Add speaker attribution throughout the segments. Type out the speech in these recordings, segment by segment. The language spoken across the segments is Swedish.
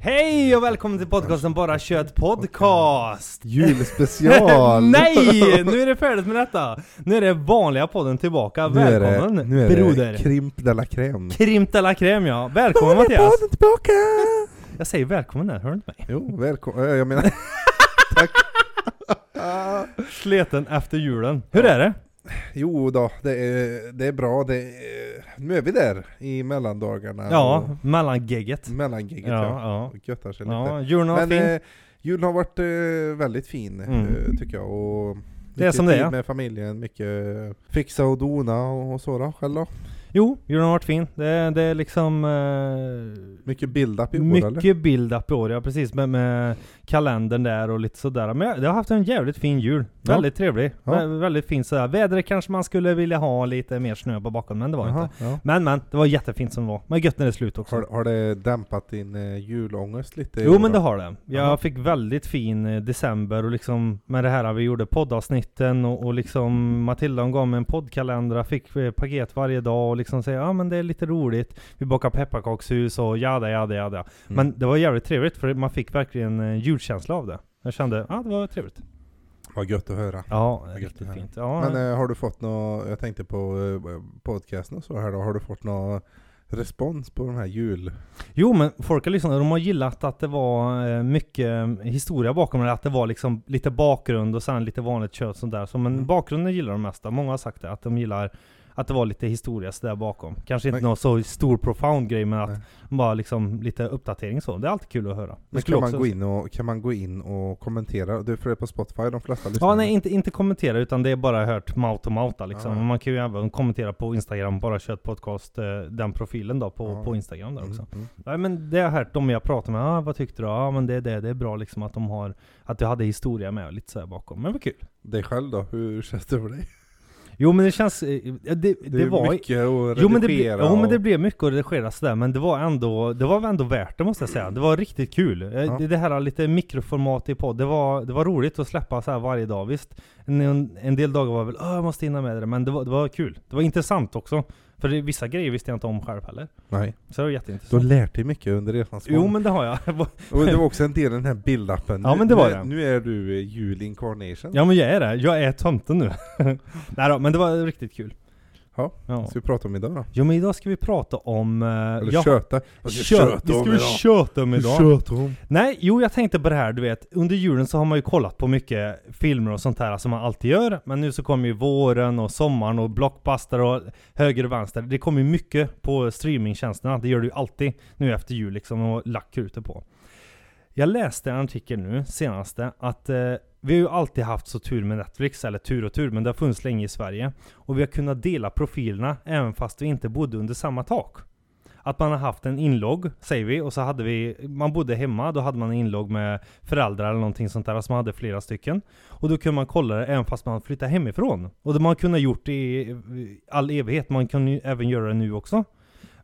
Speaker 1: Hej och välkommen till podcasten Bara Kött Podcast!
Speaker 2: Julspecial!
Speaker 1: Nej! Nu är det färdigt med detta! Nu är det vanliga podden tillbaka.
Speaker 2: nu är
Speaker 1: Välkommen
Speaker 2: det, nu är
Speaker 1: broder!
Speaker 2: det Krimp de la crème.
Speaker 1: Krimp de la crème ja. Välkommen Mattias!
Speaker 2: podden tillbaka!
Speaker 1: Jag säger välkommen där, hör du inte mig?
Speaker 2: Jo, välkommen. Jag menar,
Speaker 1: Sleten efter julen. Hur är det?
Speaker 2: jo då, det är, det är bra. Det är, nu är vi där i mellandagarna.
Speaker 1: Ja, mellangegget.
Speaker 2: och Mellangigget
Speaker 1: Ja,
Speaker 2: ja.
Speaker 1: ja.
Speaker 2: Och Göttar sig lite.
Speaker 1: Ja, julen har varit
Speaker 2: Men
Speaker 1: fin.
Speaker 2: eh, julen har varit eh, väldigt fin
Speaker 1: Mm.
Speaker 2: eh, tycker jag. Och
Speaker 1: Det är
Speaker 2: mycket
Speaker 1: som det
Speaker 2: tid
Speaker 1: är.
Speaker 2: med familjen, mycket fixa och dona och, och så då, själv då.
Speaker 1: Jo, julen har varit fin. Det, det är liksom... Eh,
Speaker 2: Mycket build-up i år eller?
Speaker 1: Mycket build-up i år, ja precis. Med, med kalendern där och lite sådär. Men jag, jag har haft en jävligt fin jul.
Speaker 2: Ja.
Speaker 1: Väldigt trevlig.
Speaker 2: Ja.
Speaker 1: Vä- väldigt fin sådär. Vädret kanske man skulle vilja ha lite mer snö på bakom, men det var
Speaker 2: Jaha,
Speaker 1: inte.
Speaker 2: ja.
Speaker 1: Men men, det var jättefint som det var. Men gött när det är slut också.
Speaker 2: Har, har det dämpat din eh, julångest lite? i
Speaker 1: Jo
Speaker 2: år
Speaker 1: men det
Speaker 2: då?
Speaker 1: har det. Jag
Speaker 2: Jaha.
Speaker 1: fick väldigt fin eh, december och liksom med det här vi gjorde poddavsnitten och, och liksom Matilda hon gav mig en poddkalender, jag fick eh, paket varje dag och liksom säger ja ah, men det är lite roligt. Vi bakar pepparkakshus och jada jada jada.
Speaker 2: Mm.
Speaker 1: Men det var jävligt trevligt för man fick verkligen en julkänsla av det. Jag kände, ja ah, det var trevligt.
Speaker 2: Vad gött att höra.
Speaker 1: Ja,
Speaker 2: gött det
Speaker 1: riktigt
Speaker 2: här.
Speaker 1: fint. Ja,
Speaker 2: Men eh, har du fått något, jag tänkte på eh, podcasten och så här då, har du fått någon respons på de här jul...
Speaker 1: Jo men folk har lyssnat, de har gillat att det var eh, mycket eh, historia bakom det, att det var liksom lite bakgrund och sen lite vanligt kött sådär. Så, men
Speaker 2: Mm.
Speaker 1: bakgrunden gillar de mesta, många har sagt det, att de gillar att det var lite historia sådär bakom. Kanske inte
Speaker 2: Men-
Speaker 1: någon så stor profound grej men att
Speaker 2: Nej.
Speaker 1: bara liksom lite uppdatering så. Det är alltid kul att höra.
Speaker 2: Men
Speaker 1: Jag
Speaker 2: kan,
Speaker 1: skulle
Speaker 2: man
Speaker 1: också-
Speaker 2: gå in och, kan man gå in och kommentera? Du för det är på Spotify de flesta lyssnar.
Speaker 1: Ja, nej, inte, inte kommentera utan det är bara hört mouth to mouth liksom.
Speaker 2: Ja, ja.
Speaker 1: Man kan ju även kommentera på Instagram, bara kött podcast, eh, den profilen då på,
Speaker 2: Ja.
Speaker 1: på Instagram där
Speaker 2: Mm,
Speaker 1: också.
Speaker 2: mm.
Speaker 1: Nej men det har jag hört, de jag pratar med, ah, vad tyckte du? Ja ah, men det är det, det är bra liksom att de har, att du hade historia med och lite så här bakom. Men vad kul.
Speaker 2: Dig själv då, hur känns det för dig?
Speaker 1: Jo men det känns, eh, det, det,
Speaker 2: är ju
Speaker 1: var
Speaker 2: mycket att redigera
Speaker 1: Jo men, det, ble- jo men det
Speaker 2: och-
Speaker 1: blev mycket att redigera sådär, men det var ändå, det var väl ändå värt det måste jag säga. Det var riktigt kul. Eh,
Speaker 2: Ja.
Speaker 1: Det, det här lite mikroformat i podd, det var, det var roligt att släppa så här varje dag. Visst, en, en- en del dagar var väl "Åh, jag måste hinna med det, men det var, det var kul. Det var intressant också. För det, vissa grejer visste jag inte om själv heller.
Speaker 2: Nej,
Speaker 1: Så det var
Speaker 2: du har
Speaker 1: jätteintressant.
Speaker 2: lärt dig mycket under resans
Speaker 1: Jo
Speaker 2: gång.
Speaker 1: men det har jag.
Speaker 2: Och det var också en del av den här build-upen.
Speaker 1: Ja,
Speaker 2: Nu-
Speaker 1: men det var
Speaker 2: nu,
Speaker 1: det.
Speaker 2: Nu är du eh, jul incarnation.
Speaker 1: ja men jag är det, jag är tomten nu. Nej då, men det var riktigt kul.
Speaker 2: Ja.
Speaker 1: ja.
Speaker 2: Ska vi prata om idag då?
Speaker 1: Jo men idag ska vi prata om... eh,
Speaker 2: Eller
Speaker 1: ja,
Speaker 2: köta? Vad ska jag
Speaker 1: Vi
Speaker 2: om
Speaker 1: ska vi
Speaker 2: idag?
Speaker 1: köta om idag.
Speaker 2: Köta om.
Speaker 1: Nej, jo jag tänkte på det här, du vet. Under julen så har man ju kollat på mycket filmer och sånt här som man alltid gör. Men nu så kommer ju våren och sommaren och blockbuster och höger och vänster. Det kommer ju mycket på streamingtjänsterna. Det gör det ju alltid nu efter jul liksom och lack ute på. Jag läste en artikel nu senaste att eh, vi har ju alltid haft så tur med Netflix, eller tur och tur, men det har funnits länge i Sverige. Och vi har kunnat dela profilerna även fast vi inte bodde under samma tak. Att man har haft en inlogg, säger vi, och så hade vi, man bodde hemma, då hade man en inlogg med föräldrar eller någonting sånt där, som hade flera stycken. Och då kunde man kolla det även fast man flyttade hemifrån. Och det man kunde ha gjort i i all evighet, man kan ju även göra det nu också.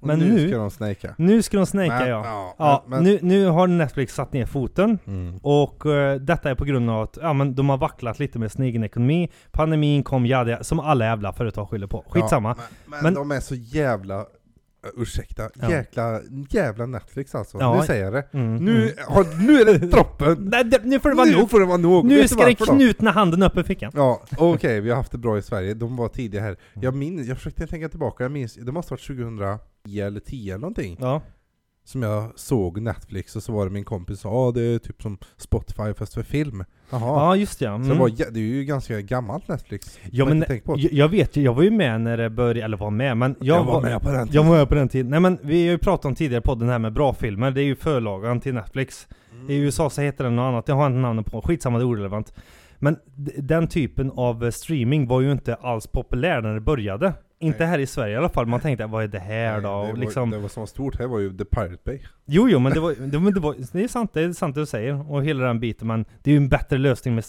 Speaker 2: Och
Speaker 1: Men
Speaker 2: nu,
Speaker 1: nu-
Speaker 2: ska de snejka.
Speaker 1: Nu ska de snejka
Speaker 2: Men-
Speaker 1: ja. Ja,
Speaker 2: ja, men-
Speaker 1: Nu, nu har Netflix satt ner foten.
Speaker 2: Mm.
Speaker 1: Och eh, detta är på grund av att ja, men de har vacklat lite med sin egen ekonomi. Pandemin kom, ja, det, som alla jävla företag skyller på. Skitsamma.
Speaker 2: Ja, men, men,
Speaker 1: Men-
Speaker 2: de är så jävla, uh, ursäkta,
Speaker 1: Ja.
Speaker 2: jäkla, jävla Netflix alltså.
Speaker 1: Ja.
Speaker 2: Nu säger jag det.
Speaker 1: Mm,
Speaker 2: Nu,
Speaker 1: mm.
Speaker 2: har, nu är det droppen!
Speaker 1: Nej, det, nu får det vara
Speaker 2: nu
Speaker 1: nog.
Speaker 2: får det vara nog! Vet
Speaker 1: Nu
Speaker 2: du
Speaker 1: ska den
Speaker 2: varför då?
Speaker 1: knutna handen upp i fickan.
Speaker 2: Ja, okej, vi har haft det bra i Sverige. De var tidiga här. Jag minns, jag försökte tänka tillbaka, jag minns, det måste ha varit 2010 eller 10 eller någonting.
Speaker 1: Ja.
Speaker 2: Som jag såg Netflix och så var det min kompis som sa ah, det är typ som Spotify fast för film. Jaha.
Speaker 1: ja, just ja.
Speaker 2: Så det,
Speaker 1: Mm.
Speaker 2: var, jä- det är ju ganska gammalt Netflix.
Speaker 1: Ja,
Speaker 2: Man har
Speaker 1: men
Speaker 2: inte tänkt på det.
Speaker 1: Jag, jag vet ju, jag var ju med när det började, eller var med, men jag,
Speaker 2: Jag var med på den
Speaker 1: Jag var med på den tiden. Nej men vi har ju pratat om tidigare på den här med bra filmer, det är ju förlagan till Netflix.
Speaker 2: Mm.
Speaker 1: I USA så heter den något annat, jag har inte namnet på, skitsamma det är orelevant. Men d- den typen av eh, streaming var ju inte alls populär när det började. Inte
Speaker 2: Nej.
Speaker 1: här i Sverige i alla fall, man tänkte vad är det här då?
Speaker 2: det,
Speaker 1: Och
Speaker 2: var,
Speaker 1: liksom,
Speaker 2: det var som var stort här var ju The Pirate Bay.
Speaker 1: Jo, jo, men det var, det, men det var det är sant, det är sant det du säger. Och hela den biten, men det är ju en bättre lösning med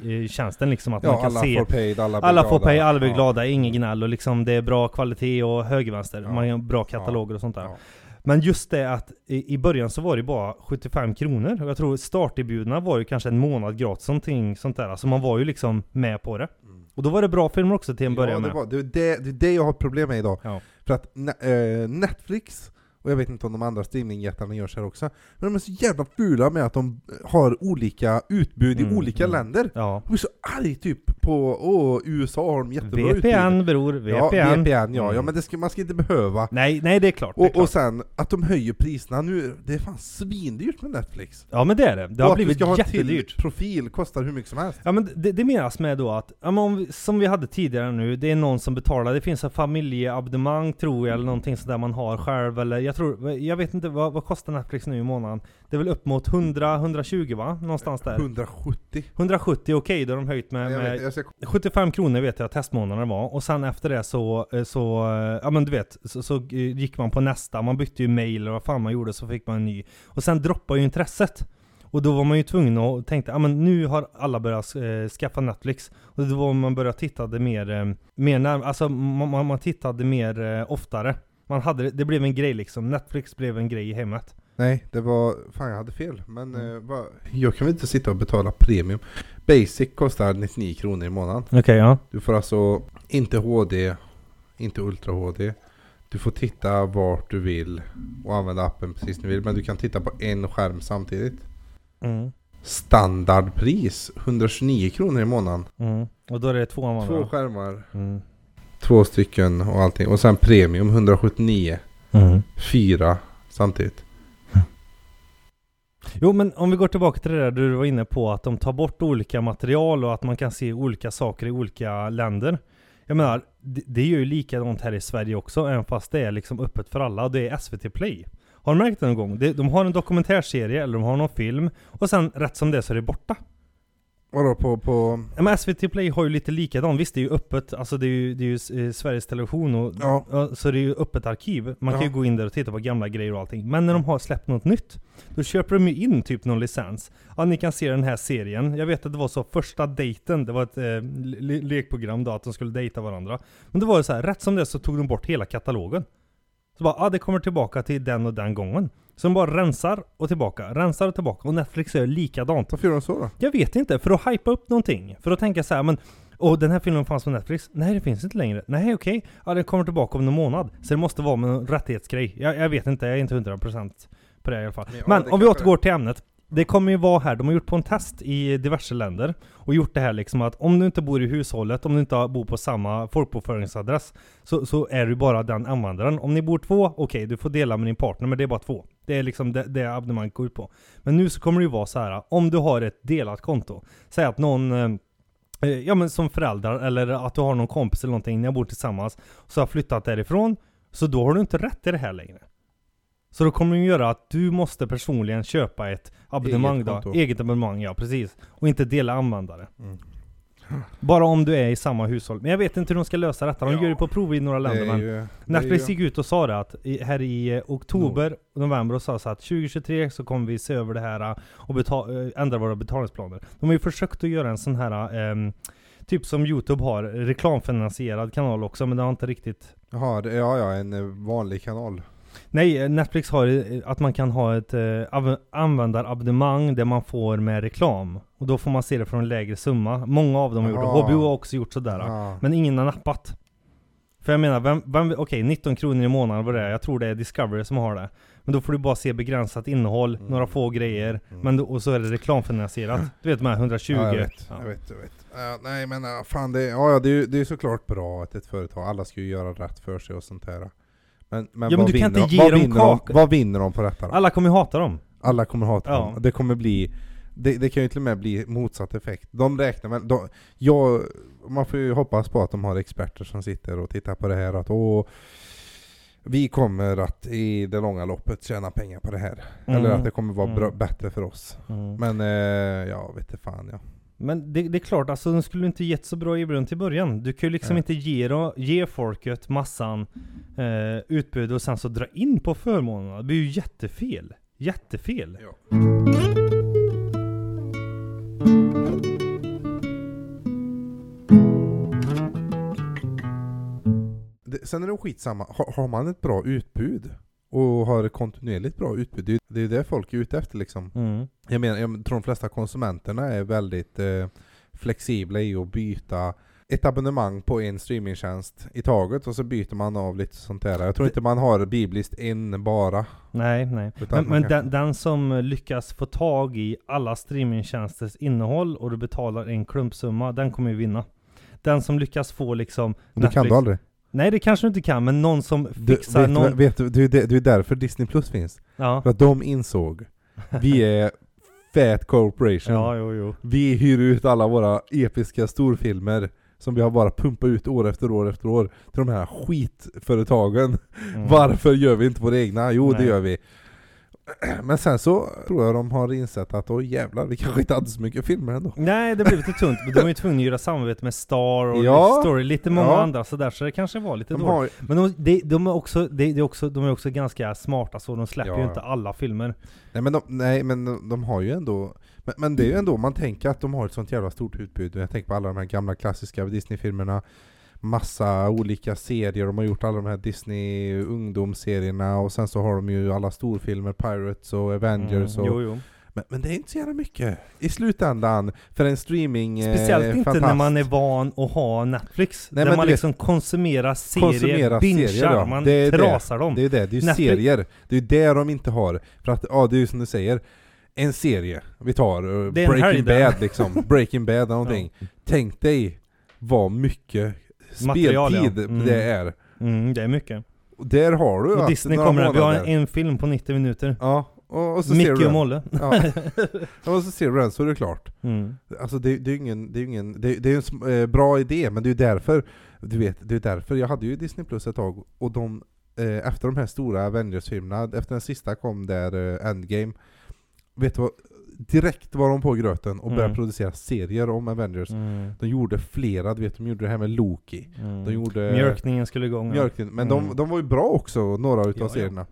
Speaker 1: streamingtjänsten liksom. Att man
Speaker 2: Ja,
Speaker 1: kan
Speaker 2: alla
Speaker 1: se
Speaker 2: får paid, alla blir
Speaker 1: alla
Speaker 2: glada.
Speaker 1: får pay, alla blir
Speaker 2: Ja.
Speaker 1: glada, ingen gnäll och liksom det är bra kvalitet och högervänster.
Speaker 2: Ja.
Speaker 1: Man har bra kataloger och sånt där.
Speaker 2: Ja.
Speaker 1: Men just det att i, i början så var det bara 75 kronor. Och Jag tror starterbjudna var ju kanske en månad gratis, någonting sånt där. Alltså man var ju liksom med på det. Och då var det bra filmer också till en början
Speaker 2: Mm. ja, det,
Speaker 1: med.
Speaker 2: var, det, är det, det är det jag har problem med idag.
Speaker 1: Ja.
Speaker 2: För att ne- eh, Netflix Och jag vet inte om de andra streamingjättarna gör så här också. Men de är så jävla fula med att de har olika utbud
Speaker 1: Mm,
Speaker 2: i olika
Speaker 1: mm.
Speaker 2: länder.
Speaker 1: Ja.
Speaker 2: Jag blir så arg typ på åh, USA har de jättebra utbud.
Speaker 1: VPN bror, VPN.
Speaker 2: Ja, VPN ja. ja
Speaker 1: Mm.
Speaker 2: men det ska, man ska inte behöva.
Speaker 1: Nej, nej det är klart. det är
Speaker 2: Och,
Speaker 1: klart.
Speaker 2: och sen att de höjer priserna nu, det är fan svindyrt med Netflix.
Speaker 1: ja men det är det. Det har
Speaker 2: och att vi
Speaker 1: blivit
Speaker 2: ska ha en
Speaker 1: jättedyrt.
Speaker 2: till profil kostar hur mycket som helst.
Speaker 1: Ja men det, det menas med då att, ja, men om vi, som vi hade tidigare nu, det är någon som betalar, det finns en familjeabonnemang tror jag eller någonting sådär man har själv eller jag tror, jag vet inte vad, vad kostar Netflix nu i månaden? Det är väl upp mot 100-120 va? Någonstans där?
Speaker 2: 170.
Speaker 1: 170 okej, då har de höjt med,
Speaker 2: Jag
Speaker 1: med
Speaker 2: vet, jag ska...
Speaker 1: 75 kronor vet jag testmånaden var, och sen efter det så, så eh, ja men du vet, så, så eh, gick man på nästa, man bytte ju mail och vad fan man gjorde, så fick man en ny. Och sen droppade ju intresset. Och då var man ju tvungen att tänka, ja men nu har alla börjat eh, skaffa Netflix. Och då var man började titta det mer, eh, mer när, alltså man, man, man tittade mer eh, oftare. Man hade, det blev en grej liksom, Netflix blev en grej i hemmet.
Speaker 2: Nej, det var... Fan jag hade fel. Men
Speaker 1: Mm.
Speaker 2: eh, vad- jag kan väl inte sitta och betala premium. Basic kostar 99 kronor i månaden.
Speaker 1: Okej ja.
Speaker 2: Du får alltså inte HD, inte Ultra HD. Du får titta vart du vill och använda appen precis när du vill. Men du kan titta på en skärm samtidigt.
Speaker 1: Mm,
Speaker 2: Standardpris 129 kronor i månaden.
Speaker 1: mm. Och då är det tvåan man
Speaker 2: Två
Speaker 1: va?
Speaker 2: skärmar,
Speaker 1: Mm.
Speaker 2: två stycken och allting. Och sen premium 179.
Speaker 1: Mm.
Speaker 2: fyra samtidigt.
Speaker 1: Jo men om vi går tillbaka till det där du var inne på att de tar bort olika material och att man kan se olika saker i olika länder. Jag menar, det, det är ju likadant här i Sverige också, även fast det är liksom öppet för alla och det är SVT Play. Har du märkt det någon gång? Det- De har en dokumentärserie eller de har någon film och sen rätt som det så är det borta.
Speaker 2: Vadå på, på...
Speaker 1: Ja, Men SVT Play har ju lite likadant, visst det är ju öppet, alltså det är ju, det är ju S- eh, Sveriges Television och
Speaker 2: Ja.
Speaker 1: Ja, så det är ju öppet arkiv. Man kan
Speaker 2: Ja.
Speaker 1: ju gå in där och titta på gamla grejer och allting. Men när de har släppt något nytt, då köper de ju in typ någon licens. Ja, ni kan se den här serien. Jag vet att det var så första dejten, det var ett eh, le- lekprogram då, att de skulle dejta varandra. Men det var ju så här, rätt som det så tog de bort hela katalogen. Så bara, ah, det kommer tillbaka till den och den gången. Så de bara rensar och tillbaka, rensar och tillbaka. Och Netflix gör likadant.
Speaker 2: Varför gör de så då?
Speaker 1: Jag vet inte, för att hypa upp någonting. För att tänka så här, men och den här filmen fanns på Netflix. Nej, det finns inte längre. Nej, okej. Ja, den kommer tillbaka om en månad. Så det måste vara med en rättighetsgrej. Jag, jag vet inte, jag är inte 100% på det i alla fall.
Speaker 2: Men ja,
Speaker 1: Men
Speaker 2: det
Speaker 1: om vi
Speaker 2: kanske-
Speaker 1: återgår till ämnet. Det kommer ju vara här, de har gjort på en test i diverse länder och gjort det här liksom att om du inte bor i hushållet, om du inte bor på samma folkbokföringsadress så, så är du bara den användaren. Om ni bor två, okej du får dela med din partner men det är bara två. Det är liksom det, det abonnemanget går ut på. Men nu så kommer det ju vara så här, om du har ett delat konto, säg att någon eh, Eh, Ja men som föräldrar eller att du har någon kompis eller någonting, ni har bott tillsammans, så har flyttat därifrån, så då har du inte rätt till det här längre. Så då kommer det ju göra att du måste personligen köpa ett abonnemang
Speaker 2: Eget
Speaker 1: eget då.
Speaker 2: konto.
Speaker 1: Eget abonnemang, ja precis. Och inte dela användare.
Speaker 2: Mm.
Speaker 1: Bara om du är i samma hushåll. Men jag vet inte hur de ska lösa detta, de
Speaker 2: Ja. Eh,
Speaker 1: gör det på prov i några länder men
Speaker 2: ju...
Speaker 1: Netflix
Speaker 2: det är
Speaker 1: gick ut och sa det att i, här i eh, oktober, november och sa så att 2023 så kommer vi se över det här eh, och beta- eh, ändra våra betalningsplaner. De har ju försökt att göra en sån här, ehm, typ som Youtube har, reklamfinansierad kanal också men det har inte riktigt
Speaker 2: Jaha, det, ja, ja, en eh, vanlig kanal.
Speaker 1: Nej, eh, Netflix har eh, att man kan ha ett eh, av- användarabonnemang där man får med reklam. Och då får man se det från en lägre summa. Många av dem har gjort det.
Speaker 2: Ah.
Speaker 1: HBO har också gjort sådär.
Speaker 2: Ja.
Speaker 1: Men ingen har nappat. För jag menar, vem, vem, okej 19 kronor i månaden var det är. Jag tror det är Discovery som har det. Men då får du bara se begränsat innehåll,
Speaker 2: Mm.
Speaker 1: några få grejer.
Speaker 2: Mm.
Speaker 1: Men då, och så är det reklamfinansierat. Du vet de här 120.
Speaker 2: Ja, jag vet,
Speaker 1: Ja.
Speaker 2: jag vet, jag vet. Ja, nej men ja, fan det, ja, ja, det, är ju- det är ju såklart bra att ett företag, alla ska ju göra rätt för sig och sånt här. Men, men,
Speaker 1: Ja, men
Speaker 2: vad,
Speaker 1: du kan
Speaker 2: vinner
Speaker 1: inte
Speaker 2: de,
Speaker 1: ge
Speaker 2: vad,
Speaker 1: dem
Speaker 2: vinner de,
Speaker 1: kakor.
Speaker 2: vad vinner de på detta då?
Speaker 1: Alla kommer ju hata dem.
Speaker 2: Alla kommer hata
Speaker 1: Ja.
Speaker 2: dem. Det kommer bli... Det, det kan ju till och med bli motsatt effekt. De räknar med... De, jag, man får ju hoppas på att de har experter som sitter och tittar på det här att åh, vi kommer att i det långa loppet tjäna pengar på det här.
Speaker 1: Mm.
Speaker 2: Eller att det kommer vara
Speaker 1: Mm.
Speaker 2: bra, bättre för oss.
Speaker 1: Mm.
Speaker 2: Men eh, ja, vet du fan ja.
Speaker 1: Men det, det är klart, alltså de skulle inte gett så bra erbjudanden till början. Du kan ju liksom
Speaker 2: Nej.
Speaker 1: inte ge, då- ge folket massan eh, utbud och sen så dra in på förmånerna. Det blir ju jättefel. Jättefel.
Speaker 2: Det, sen är det skitsamma. Har, har man ett bra utbud och har ett kontinuerligt bra utbud, det är ju- det är ju det folk är ute efter liksom.
Speaker 1: Mm.
Speaker 2: Jag menar, jag tror de flesta konsumenterna är väldigt eh, flexibla i att byta ett abonnemang på en streamingtjänst i taget och så byter man av lite sånt där. Jag tror inte man har bibliskt en bara.
Speaker 1: Nej, nej.
Speaker 2: Utan
Speaker 1: Men,
Speaker 2: man
Speaker 1: men
Speaker 2: kan-
Speaker 1: den, den som lyckas få tag i alla streamingtjänsters innehåll och du betalar en klumpsumma, den kommer ju vinna. Den som lyckas få liksom...
Speaker 2: Det kan du aldrig.
Speaker 1: Nej, det kanske du inte kan, men någon som
Speaker 2: Du,
Speaker 1: fixar
Speaker 2: vet,
Speaker 1: någon...
Speaker 2: du- vet, du, det är det- det är därför Disney Plus finns.
Speaker 1: Ja.
Speaker 2: För att de insåg, vi är fat corporation.
Speaker 1: ja, jo, jo.
Speaker 2: Vi hyr ut alla våra episka storfilmer som vi har bara pumpat ut år efter år efter år till de här skitföretagen.
Speaker 1: Mm.
Speaker 2: Varför gör vi inte våra egna? Jo, det
Speaker 1: Nej.
Speaker 2: gör vi. Men sen så tror jag de har insett att åh jävlar, vi kanske inte hade så mycket filmer ändå.
Speaker 1: Nej, det blev lite tunt. men De var ju tvungna att göra samarbete med Star och
Speaker 2: Ja.
Speaker 1: Story, lite många
Speaker 2: Ja.
Speaker 1: andra sådär, så det kanske var lite
Speaker 2: De
Speaker 1: dåligt.
Speaker 2: har,
Speaker 1: Men de, de, de, är också, de, de, är också, de är också ganska smarta så, de släpper
Speaker 2: Ja,
Speaker 1: ju
Speaker 2: ja.
Speaker 1: inte alla filmer.
Speaker 2: nej, men de, nej men de, de har ju ändå men, men det är ju ändå, man tänker att de har ett sånt jävla stort utbud. Jag tänker på alla de här gamla klassiska Disney-filmerna. Massa olika serier, de har gjort alla de här Disney ungdomsserierna och sen så har de ju alla storfilmer, Pirates och Avengers och...
Speaker 1: Mm. Jo, jo.
Speaker 2: Men, men det är inte så jävla mycket i slutändan för en streaming eh,
Speaker 1: Speciellt inte när
Speaker 2: fantast.
Speaker 1: man är van att ha Netflix.
Speaker 2: Nej,
Speaker 1: där
Speaker 2: men
Speaker 1: man
Speaker 2: du vet-
Speaker 1: liksom konsumerar serier,
Speaker 2: Konsumerar
Speaker 1: bingear,
Speaker 2: serier, ja.
Speaker 1: man
Speaker 2: Det är det.
Speaker 1: trasar dem.
Speaker 2: Det är ju det, det är ju
Speaker 1: Netflix-
Speaker 2: serier. Det är ju det de inte har. För att, ja det är ju som du säger, en serie. Vi tar eh,
Speaker 1: Det är en
Speaker 2: Breaking
Speaker 1: helg där.
Speaker 2: Bad liksom. Breaking Bad eller någonting. Tänk dig vad mycket
Speaker 1: Material, ja.
Speaker 2: speltid
Speaker 1: Mm.
Speaker 2: det är.
Speaker 1: Mm, det är mycket.
Speaker 2: Och där har du
Speaker 1: Och
Speaker 2: att
Speaker 1: Disney
Speaker 2: några
Speaker 1: kommer att vi har en,
Speaker 2: månader.
Speaker 1: en film på 90 minuter.
Speaker 2: Ja, och, och så ser
Speaker 1: Micke
Speaker 2: du
Speaker 1: och
Speaker 2: den.
Speaker 1: Molle.
Speaker 2: Ja. Ja, och så ser du den så är det klart.
Speaker 1: Mm.
Speaker 2: Alltså det, det är ju ingen, det är ju ingen, det, det är ju en sm- eh, bra idé, men det är ju därför, du vet, det är därför, jag hade ju Disney plus ett tag, och de, eh, efter de här stora Avengers-filmerna, efter den sista kom där, eh, Endgame, vet du vad, direkt var de på gröten och började
Speaker 1: Mm.
Speaker 2: producera serier om Avengers.
Speaker 1: Mm.
Speaker 2: De gjorde flera, du vet, de gjorde det här med Loki,
Speaker 1: Mm.
Speaker 2: de gjorde... eh,
Speaker 1: Mjölkningen skulle igång. ja.
Speaker 2: Mjölken, men de,
Speaker 1: Mm.
Speaker 2: de var ju bra också, några utav
Speaker 1: Ja, ja.
Speaker 2: serierna.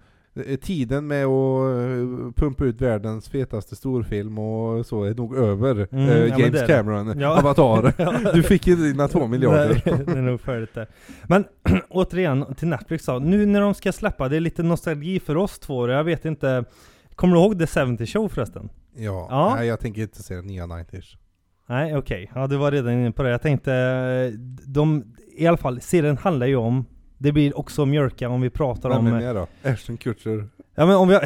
Speaker 2: Eh, Tiden med att eh, pumpa ut världens fetaste storfilm och så är nog över.
Speaker 1: Mm,
Speaker 2: Eh,
Speaker 1: ja, men
Speaker 2: James
Speaker 1: det är det.
Speaker 2: Cameron,
Speaker 1: Ja.
Speaker 2: Avatar.
Speaker 1: Ja.
Speaker 2: Du fick inte dina två miljarder.
Speaker 1: Nej, det är nog färdigt där. Men återigen till Netflix då. Nu när de ska släppa, det är lite nostalgi för oss två. Jag vet inte. Kommer du ihåg The 70 Show förresten?
Speaker 2: Ja,
Speaker 1: Ja.
Speaker 2: Nej, jag tänker inte se den nya 90s.
Speaker 1: Nej, okej. Ja, du var redan inne på det. Jag tänkte, eh, de, i alla fall, serien handlar ju om, det blir också mjölka om vi pratar
Speaker 2: Vem
Speaker 1: om... eh,
Speaker 2: är med då? Ashton Kutcher?
Speaker 1: Ja men om jag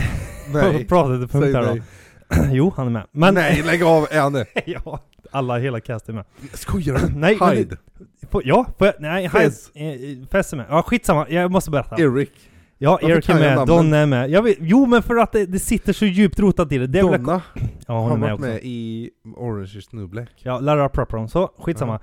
Speaker 2: Nej,
Speaker 1: pratar till punkt
Speaker 2: säg
Speaker 1: här då.
Speaker 2: nej.
Speaker 1: Jo, han är med. Men,
Speaker 2: Nej, lägg av! Är han det?
Speaker 1: ja, alla, hela castet är med.
Speaker 2: Skojar du?
Speaker 1: Nej, men det-
Speaker 2: Hyde,
Speaker 1: Får- ja, får jag, nej,
Speaker 2: Fez.
Speaker 1: Fess. Fess är med. Ja, skitsamma. Jag måste berätta.
Speaker 2: Eric,
Speaker 1: Ja,
Speaker 2: Varför
Speaker 1: Eric
Speaker 2: kan
Speaker 1: är
Speaker 2: jag
Speaker 1: med,
Speaker 2: namnen?
Speaker 1: Donna är med. Jag vet, jo men för att det, det sitter så djupt rotat i det. det är väl-
Speaker 2: Donna
Speaker 1: ja, hon är
Speaker 2: har
Speaker 1: med
Speaker 2: varit
Speaker 1: också.
Speaker 2: med i Orange is the New Black.
Speaker 1: Ja, Lara Prepron. Så, skitsamma.
Speaker 2: Ja.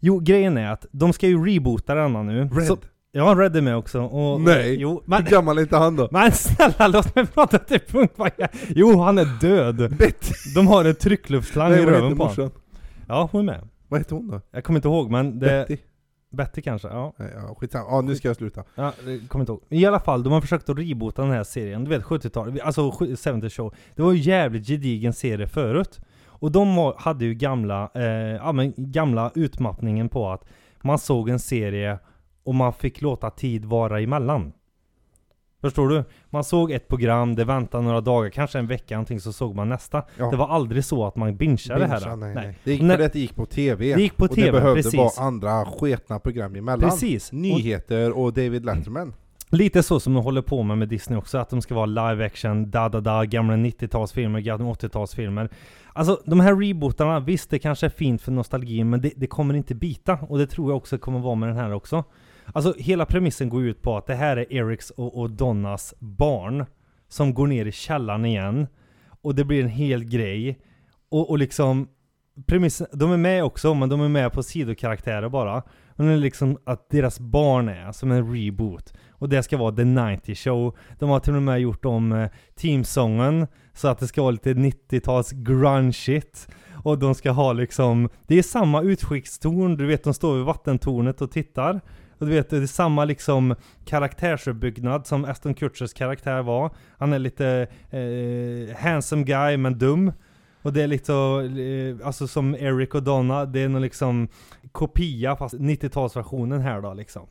Speaker 1: Jo, grejen är att de ska ju reboota denna nu.
Speaker 2: Red,
Speaker 1: Så, ja, Red är med också. Och,
Speaker 2: Nej.
Speaker 1: Jo, men,
Speaker 2: hur gammal är inte han då?
Speaker 1: men snälla låt mig prata till punkt. vad jag- Jo, han är död.
Speaker 2: Betty!
Speaker 1: De har en tryckluftslang i
Speaker 2: Nej, vad heter
Speaker 1: röven på honom.
Speaker 2: morsan?
Speaker 1: Ja, hon är med.
Speaker 2: Vad heter hon då?
Speaker 1: Jag kommer inte ihåg men det...
Speaker 2: Betty?
Speaker 1: Betty kanske? Ja.
Speaker 2: Nej, Ja, skitsamma. Ja, nu ska jag sluta.
Speaker 1: Ja, det kommer inte ihåg. I alla fall, de har försökt att reboota den här serien. Du vet 70-talet, alltså 70 show. Det var ju jävligt gedigen serie förut. Och de har- hade ju gamla, eh, ja men gamla utmattningen på att man såg en serie och man fick låta tid vara emellan. Förstår du? Man såg ett program, det väntade några dagar, kanske en vecka någonting, så såg man nästa.
Speaker 2: Ja.
Speaker 1: Det var aldrig så att man bingeade det här.
Speaker 2: Binge, nej,
Speaker 1: Nej.
Speaker 2: nej. Det gick
Speaker 1: Nej.
Speaker 2: på det att det gick på TV.
Speaker 1: Det gick på
Speaker 2: och
Speaker 1: TV,
Speaker 2: det behövde
Speaker 1: precis.
Speaker 2: vara andra sketna program emellan.
Speaker 1: Precis. Och-
Speaker 2: Nyheter och David Letterman.
Speaker 1: Lite så som de håller på med med Disney också, att de ska vara live action, da da da, gamla 90-talsfilmer, gamla 80-talsfilmer. Alltså de här rebootarna, visst det kanske är fint för nostalgin, men det, det kommer inte bita. Och det tror jag också kommer vara med den här också. Alltså hela premissen går ut på att det här är Erics och, och Donnas barn som går ner i källaren igen. Och det blir en hel grej. Och, och liksom, premissen, de är med också, men de är med på sidokaraktärer bara. Men det är liksom att deras barn är som en reboot. Och det ska vara The 90 Show. De har till och med gjort om eh, teamsången så att det ska vara lite 90-tals grunge-shit. Och de ska ha liksom, det är samma utskickstorn, du vet de står vid vattentornet och tittar. Och du vet, det är samma liksom karaktärsuppbyggnad som Aston Kutchers karaktär var. Han är lite eh, handsome guy men dum. Och det är lite, så, eh, alltså som Eric och Donna, det är nog liksom kopia fast 90-talsversionen här då liksom.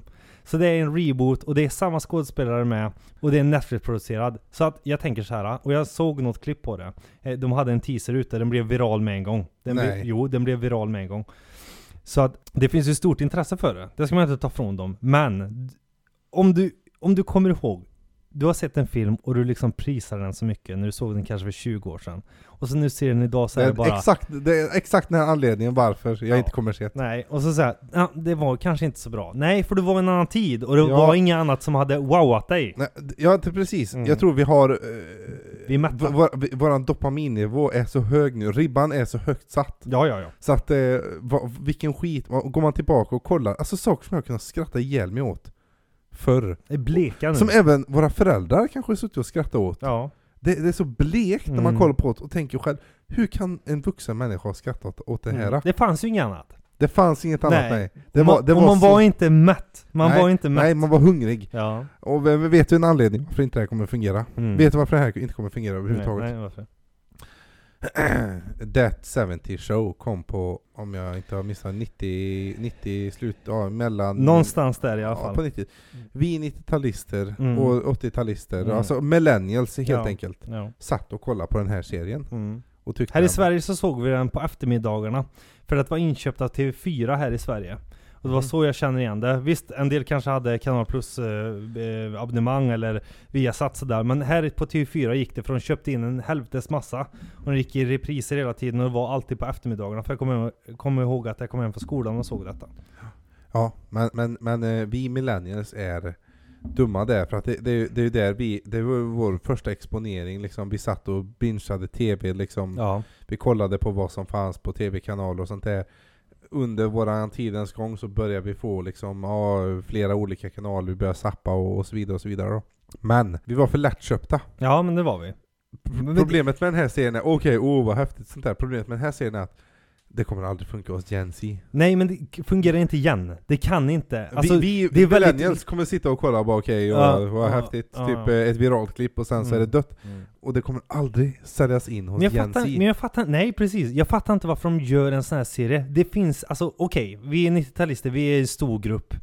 Speaker 1: Så det är en reboot och det är samma skådespelare med och det är Netflix-producerad. Så att jag tänker så här, och jag såg något klipp på det. Eh, De hade en teaser ute, den blev viral med en gång. Den
Speaker 2: Nej.
Speaker 1: Blev, jo, den blev viral med en gång. Så att det finns ju stort intresse för det. Det ska man inte ta från dem. Men om du, om du kommer ihåg, du har sett en film och du liksom prisar den så mycket när du såg den kanske för 20 år sedan. Och så nu ser den idag så
Speaker 2: Det
Speaker 1: är
Speaker 2: är
Speaker 1: det bara...
Speaker 2: exakt, det är exakt den här anledningen varför jag
Speaker 1: Ja.
Speaker 2: inte kommer sent.
Speaker 1: Nej, och så såhär, ja, det var kanske inte så bra. Nej, för det var en annan tid och det
Speaker 2: Ja.
Speaker 1: var inget annat som hade wowat dig.
Speaker 2: Nej, d- ja, inte precis.
Speaker 1: Mm.
Speaker 2: Jag tror vi har... eh,
Speaker 1: Vi är mätta.
Speaker 2: v- vår, vi- våran dopaminnivå är så hög nu, ribban är så högt satt.
Speaker 1: Ja, ja, ja.
Speaker 2: Så att, eh, va, vilken skit. Va- Går man tillbaka och kollar, alltså saker som jag kunnat skratta ihjäl mig åt förr.
Speaker 1: Det är bleka nu.
Speaker 2: Som även våra föräldrar kanske suttit och skrattat åt.
Speaker 1: Ja.
Speaker 2: Det, det är så blekt när man
Speaker 1: Mm.
Speaker 2: kollar på det och tänker själv, hur kan en vuxen människa skratta åt, åt det här?
Speaker 1: Mm. Det fanns ju inget annat.
Speaker 2: Det fanns inget annat,
Speaker 1: Nej.
Speaker 2: nej. Det
Speaker 1: Och man, och man
Speaker 2: så-
Speaker 1: var inte mätt. Man var inte mätt.
Speaker 2: Nej, man var hungrig.
Speaker 1: Ja.
Speaker 2: Och vem vet du en anledning varför inte det här kommer fungera?
Speaker 1: Mm.
Speaker 2: Vet du varför det här inte kommer fungera
Speaker 1: Nej,
Speaker 2: överhuvudtaget?
Speaker 1: nej, varför?
Speaker 2: That 70 show kom på, om jag inte har missat, 90, 90 slut, ja mellan...
Speaker 1: Någonstans där i alla
Speaker 2: Mm. Ja,
Speaker 1: fall.
Speaker 2: på 90. Vi 90-talister
Speaker 1: Mm.
Speaker 2: och 80-talister,
Speaker 1: Mm.
Speaker 2: alltså millennials helt
Speaker 1: Ja.
Speaker 2: enkelt,
Speaker 1: Ja.
Speaker 2: satt och kollade på den här serien.
Speaker 1: Mm.
Speaker 2: Och tyckte
Speaker 1: Här i
Speaker 2: den-
Speaker 1: Sverige så såg vi den på eftermiddagarna. För att det var inköpt av TV4 här i Sverige. Och det var
Speaker 2: Mm.
Speaker 1: så jag känner igen det. Visst, en del kanske hade Kanal Plus eh, eh, abonnemang eller Viasat sådär. Men här på TV4 gick det för de köpte in en helvetes massa. Och de gick i repriser hela tiden och det var alltid på eftermiddagarna. För jag kommer kom ihåg att jag kom hem från skolan och såg detta.
Speaker 2: Ja, men, men, men eh, vi millennials är dumma där, för att det, det, är ju- det är ju där vi, det var ju vår första exponering liksom, vi satt och bingeade TV liksom,
Speaker 1: Ja.
Speaker 2: vi kollade på vad som fanns på TV-kanaler och sånt där. Under våran tidens gång så började vi få liksom, ja, flera olika kanaler, vi började zappa och, och så vidare och så vidare då. Men vi var för lättköpta.
Speaker 1: Ja, men det var vi.
Speaker 2: Pro- Problemet med den här serien är, okej, oh vad häftigt sånt där. Problemet med den här serien är att det kommer aldrig funka hos Gen Z.
Speaker 1: Nej, men det k- fungerar inte igen. Det kan inte. Alltså,
Speaker 2: vi, vi
Speaker 1: det är väldigt-
Speaker 2: millennials kommer sitta och kolla och bara okej,
Speaker 1: Ja,
Speaker 2: ja, vad
Speaker 1: ja,
Speaker 2: häftigt,
Speaker 1: ja,
Speaker 2: typ
Speaker 1: ja.
Speaker 2: eh, ett viralt klipp och sen så är det
Speaker 1: Mm.
Speaker 2: dött. Och det kommer aldrig säljas in hos
Speaker 1: Men jag,
Speaker 2: Gen
Speaker 1: fattar,
Speaker 2: Z.
Speaker 1: men jag fattar Nej precis, jag fattar inte varför de gör en sån här serie. Det finns, alltså okej, vi är 90-talister, vi är en stor grupp.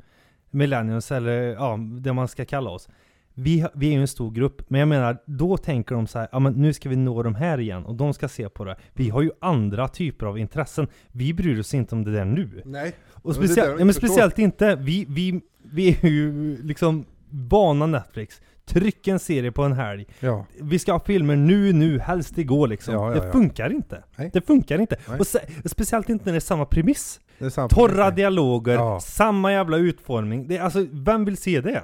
Speaker 1: Millennials eller ja, det man ska kalla oss. Vi, har- vi är ju en stor grupp, men jag menar, då tänker de så här, ja men nu ska vi nå de här igen och de ska se på det. Vi har ju andra typer av intressen. Vi bryr oss inte om det där nu.
Speaker 2: Nej.
Speaker 1: Och
Speaker 2: Men det är det
Speaker 1: speciellt,
Speaker 2: jag
Speaker 1: ja, men
Speaker 2: inte förstår.
Speaker 1: speciellt inte, vi, vi, vi är ju liksom vana Netflix. Tryck en serie på en helg.
Speaker 2: Ja.
Speaker 1: Vi ska ha filmer nu, nu, helst igår liksom.
Speaker 2: Ja, ja,
Speaker 1: Det
Speaker 2: ja.
Speaker 1: funkar inte.
Speaker 2: Nej.
Speaker 1: Det funkar inte.
Speaker 2: Nej.
Speaker 1: Och se, speciellt inte när det är samma premiss.
Speaker 2: Det är samma
Speaker 1: Torra
Speaker 2: sak.
Speaker 1: dialoger,
Speaker 2: Ja.
Speaker 1: samma jävla utformning. Det, är- alltså, vem vill se det?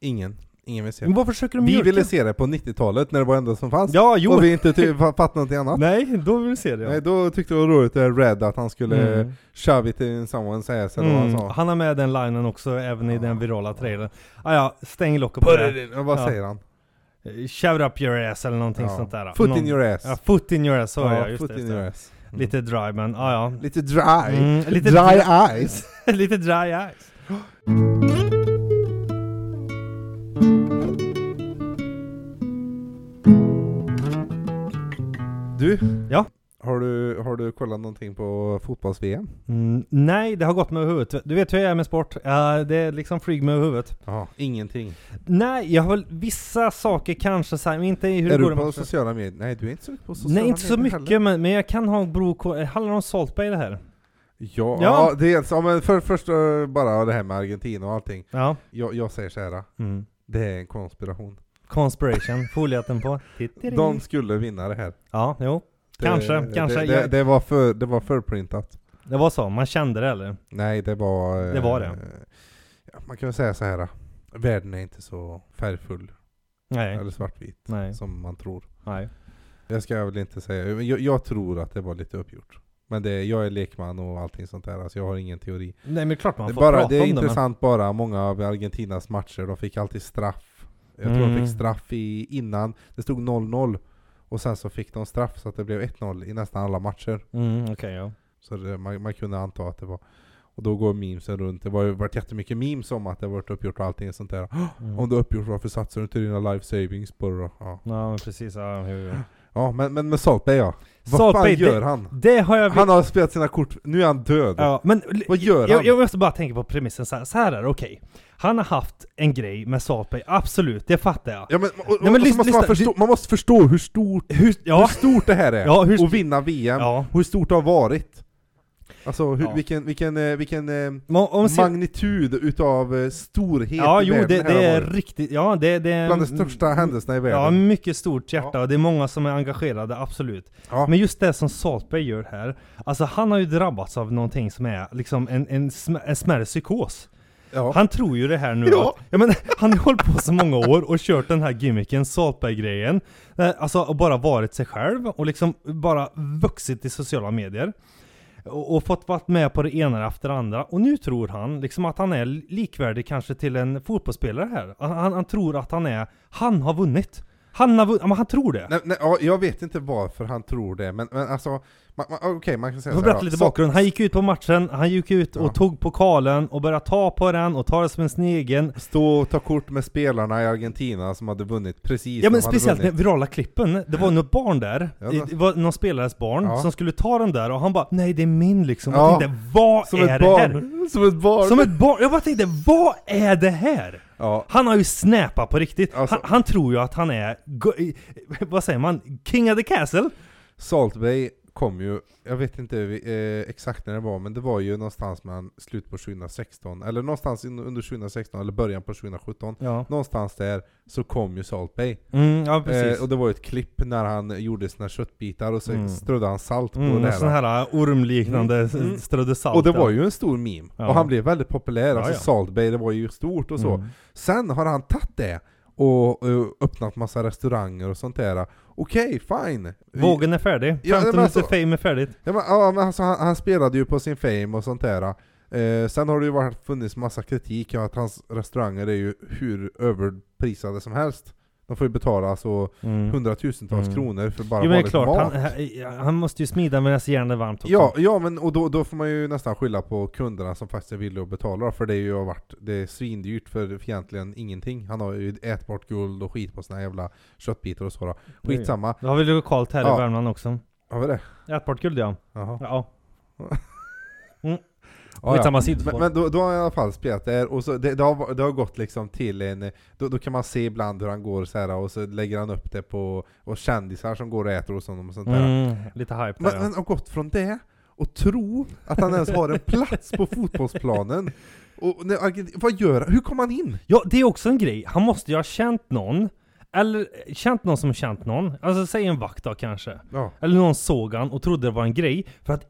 Speaker 2: Ingen. Ingen vill se
Speaker 1: Men
Speaker 2: det.
Speaker 1: vad försöker de
Speaker 2: Vi
Speaker 1: mjölka?
Speaker 2: ville se det på 90-talet när det var det enda som fanns.
Speaker 1: Ja, jo.
Speaker 2: Och vi inte ty- fa- fattade någonting annat.
Speaker 1: Nej, då vill vi se det. Ja.
Speaker 2: Nej, då tyckte det var roligt det Red att han skulle
Speaker 1: Mm.
Speaker 2: shove it in someone's ass eller
Speaker 1: Mm.
Speaker 2: vad han sa.
Speaker 1: Han har med den linen också, även i
Speaker 2: Ja.
Speaker 1: den virala trailern. Ah, ja, stäng locket på det.
Speaker 2: Ja, vad
Speaker 1: Ja.
Speaker 2: säger han?
Speaker 1: Shout up your ass eller någonting
Speaker 2: Ja.
Speaker 1: sånt där.
Speaker 2: Foot
Speaker 1: Någon-
Speaker 2: in your ass.
Speaker 1: Ja, foot in your ass, så ja,
Speaker 2: Ja,
Speaker 1: jag, just
Speaker 2: foot
Speaker 1: det,
Speaker 2: in
Speaker 1: just det.
Speaker 2: your ass. Mm.
Speaker 1: Lite dry men, ah, ja.
Speaker 2: Lite dry.
Speaker 1: Mm, lite
Speaker 2: dry eyes.
Speaker 1: Lite dry eyes.
Speaker 2: Du?
Speaker 1: Ja?
Speaker 2: Har du, har du kollat någonting på fotbolls-VM?
Speaker 1: Mm, nej, det har gått med huvudet. Du vet hur jag är med sport. Ja, det är liksom flyg med huvudet.
Speaker 2: Ja, ingenting.
Speaker 1: Nej, jag har väl vissa saker kanske så här, men inte i hur
Speaker 2: är
Speaker 1: det går
Speaker 2: du
Speaker 1: i
Speaker 2: på
Speaker 1: matchen.
Speaker 2: sociala medier? Nej, du är inte så mycket på sociala medier
Speaker 1: Nej, inte så
Speaker 2: Heller.
Speaker 1: mycket, men, men jag kan ha bro... Handlar det om Saltberg det här?
Speaker 2: Ja,
Speaker 1: Ja.
Speaker 2: ja. dels, ja, men för, först eh, bara det här med Argentina och allting.
Speaker 1: Ja.
Speaker 2: Jag, jag säger så här,
Speaker 1: Mm.
Speaker 2: det är en konspiration.
Speaker 1: Conspiration, foliehatten på. Tittiri.
Speaker 2: De skulle vinna det här.
Speaker 1: Ja, jo.
Speaker 2: Det,
Speaker 1: Kanske, kanske.
Speaker 2: Det, det,
Speaker 1: Jag-
Speaker 2: det, var för, det var förprintat.
Speaker 1: Det var så, man kände det eller?
Speaker 2: Nej, det var... eh,
Speaker 1: Det var det.
Speaker 2: ja, Man kan väl säga så här. eh, Världen är inte så färgfull
Speaker 1: Nej.
Speaker 2: eller svartvit
Speaker 1: Nej.
Speaker 2: som man tror.
Speaker 1: Nej.
Speaker 2: Jag ska väl inte säga, men jag, jag tror att det var lite uppgjort. Men det, jag är lekman och allting sånt där, alltså jag har ingen teori.
Speaker 1: Nej, men det är klart man
Speaker 2: Det, är
Speaker 1: får
Speaker 2: bara,
Speaker 1: prata
Speaker 2: det är
Speaker 1: om det. Men...
Speaker 2: intressant bara, många av Argentinas matcher, de fick alltid straff. Jag tror de
Speaker 1: Mm.
Speaker 2: fick straff i, innan, det stod 0-0. Och sen så fick de straff så att det blev 1-0 i nästan alla matcher.
Speaker 1: Mm, okej, ja.
Speaker 2: Så det, man, man kunde anta att det var... Och då går memesen runt, det har ju varit jättemycket memes om att det har varit uppgjort och allting sånt där.
Speaker 1: Mm.
Speaker 2: Om det är uppgjort, varför satsar du inte dina life savings på det då? Ja,
Speaker 1: Ja, men precis. Ja, jo, jo.
Speaker 2: ja men, men med Saltberg ja. Vad
Speaker 1: Saltberg,
Speaker 2: fan gör
Speaker 1: det-
Speaker 2: han?
Speaker 1: Det har jag...
Speaker 2: Han har spelat sina kort, nu är han död.
Speaker 1: Ja, men
Speaker 2: Vad gör han?
Speaker 1: Jag, jag måste bara tänka på premissen så här, så här är det, okej. Han har haft en grej med Saltberg, absolut, det fattar jag.
Speaker 2: Ja, men, och, och,
Speaker 1: men
Speaker 2: och så
Speaker 1: lys-
Speaker 2: måste man,
Speaker 1: lyssna,
Speaker 2: förstå, man måste förstå hur stort,
Speaker 1: Hur,
Speaker 2: hur
Speaker 1: ja,
Speaker 2: stort det här är,
Speaker 1: Ja, hur st-
Speaker 2: att vinna VM,
Speaker 1: ja,
Speaker 2: hur stort det har varit. Alltså hur,
Speaker 1: Ja.
Speaker 2: vilken, vilken, eh, vilken eh,
Speaker 1: Men Om, om, se-
Speaker 2: magnitud utav eh, storhet
Speaker 1: ja,
Speaker 2: i
Speaker 1: jo, det,
Speaker 2: världen här
Speaker 1: det
Speaker 2: har
Speaker 1: är
Speaker 2: varit.
Speaker 1: riktigt, ja det, det är...
Speaker 2: Bland de största händelserna i
Speaker 1: Ja,
Speaker 2: världen.
Speaker 1: mycket stort hjärta och det är många som är engagerade, absolut.
Speaker 2: Ja.
Speaker 1: Men just det som Saltberg gör här, alltså han har ju drabbats av någonting som är liksom en, en, sm- en smärre psykos.
Speaker 2: Ja.
Speaker 1: Han tror ju det här nu
Speaker 2: Ja.
Speaker 1: att, ja men han har hållit på så många år och kört den här gimmicken, Saltberg-grejen. Eh, Alltså och bara varit sig själv och liksom bara vuxit i sociala medier. Och, och fått varit med på det ena efter det andra. Och nu tror han liksom att han är likvärdig kanske till en fotbollsspelare här. Han, han, han tror att han är, han har vunnit. Han har vunnit, ja, men han tror det.
Speaker 2: Nej, nej, ja, jag vet inte varför han tror det, men, men alltså, man, man, okej man kan säga
Speaker 1: Jag får
Speaker 2: så här,
Speaker 1: berätta
Speaker 2: ja.
Speaker 1: lite
Speaker 2: Så-
Speaker 1: bakgrund. Han gick ut på matchen, han gick ut och
Speaker 2: Ja.
Speaker 1: tog pokalen och började ta på den och ta den som en snigel.
Speaker 2: Stå och ta kort med spelarna i Argentina som hade vunnit precis
Speaker 1: Ja
Speaker 2: som
Speaker 1: men
Speaker 2: hade
Speaker 1: speciellt den
Speaker 2: vunnit.
Speaker 1: virala klippen, det var något barn där,
Speaker 2: Ja, det-
Speaker 1: det var någon spelares barn
Speaker 2: Ja.
Speaker 1: som skulle ta den där och han bara Nej det är min liksom,
Speaker 2: Ja.
Speaker 1: jag tänkte vad
Speaker 2: Som
Speaker 1: är
Speaker 2: ett
Speaker 1: det här?
Speaker 2: barn! Som ett barn!
Speaker 1: Som ett barn! Jag bara tänkte vad är det här?
Speaker 2: Ja,
Speaker 1: Han har ju snäpat på riktigt,
Speaker 2: Alltså-
Speaker 1: han, han tror ju att han är, go- i- vad säger man, king of the castle?
Speaker 2: Salt Bay kom ju, jag vet inte eh, exakt när det var, men det var ju någonstans mellan slutet på 2016, eller någonstans in- under 2016, eller början på 2017.
Speaker 1: Ja,
Speaker 2: Någonstans där så kom ju Salt Bay.
Speaker 1: mm, ja precis.
Speaker 2: Eh, och det var ju ett klipp när han gjorde sina köttbitar och så
Speaker 1: Mm.
Speaker 2: strödde han salt på
Speaker 1: mm,
Speaker 2: det
Speaker 1: en sån
Speaker 2: här.
Speaker 1: här ormliknande
Speaker 2: Mm, mm.
Speaker 1: strödde salt
Speaker 2: Och det
Speaker 1: där.
Speaker 2: var ju en stor meme.
Speaker 1: Ja.
Speaker 2: Och han blev väldigt populär, alltså
Speaker 1: Ja, ja.
Speaker 2: Salt Bay, det var ju stort och så.
Speaker 1: Mm.
Speaker 2: Sen har han tagit det och, eh, öppnat massa restauranger och sånt där. Okej, fine. Vi-
Speaker 1: Vågen är färdig.
Speaker 2: Ja,
Speaker 1: 15
Speaker 2: men
Speaker 1: minuter
Speaker 2: alltså-
Speaker 1: fame är färdigt.
Speaker 2: Ja men, ja, men alltså, han, han spelade ju på sin fame och sånt där. Eh, sen har det ju varit, funnits massa kritik om att hans restauranger är ju hur överprisade som helst. De får ju betala alltså
Speaker 1: Mm.
Speaker 2: hundratusentals
Speaker 1: Mm.
Speaker 2: kronor för bara
Speaker 1: Jo men det är
Speaker 2: vanligt
Speaker 1: klart,
Speaker 2: mat.
Speaker 1: han, han- han måste ju smida medan järnet är varmt också.
Speaker 2: Ja, ja men och då, då får man ju nästan skylla på kunderna som faktiskt är villiga att betala för det är ju har varit, det är svindyrt för för egentligen ingenting. Han har ju ätbart guld och skit på sina jävla köttbitar och så då. Skitsamma.
Speaker 1: Då har vi lokalt här
Speaker 2: Ja.
Speaker 1: i Värmland också.
Speaker 2: Har vi det?
Speaker 1: Ätbart guld ja.
Speaker 2: Jaha.
Speaker 1: Ja.
Speaker 2: Ja, ja.
Speaker 1: Skitsamma
Speaker 2: Men,
Speaker 1: sidospår.
Speaker 2: men då, då har jag i alla fall spelat där, och så det, det, har, det har gått liksom till en... Då, då kan man se ibland hur han går så här och så lägger han upp det på... Och kändisar som går och äter och sånt, och sånt där.
Speaker 1: mm, lite hype där
Speaker 2: Men han har gått från det, och tro att han ens har en plats på fotbollsplanen. Och när Argentin- vad gör han? Hur kom han in?
Speaker 1: ja. ja, det är också en grej. Han måste ju ha känt någon. Eller eh, känt någon som känt någon. Alltså säg en vakt då kanske.
Speaker 2: Ja.
Speaker 1: Eller någon såg han och trodde det var en grej. För att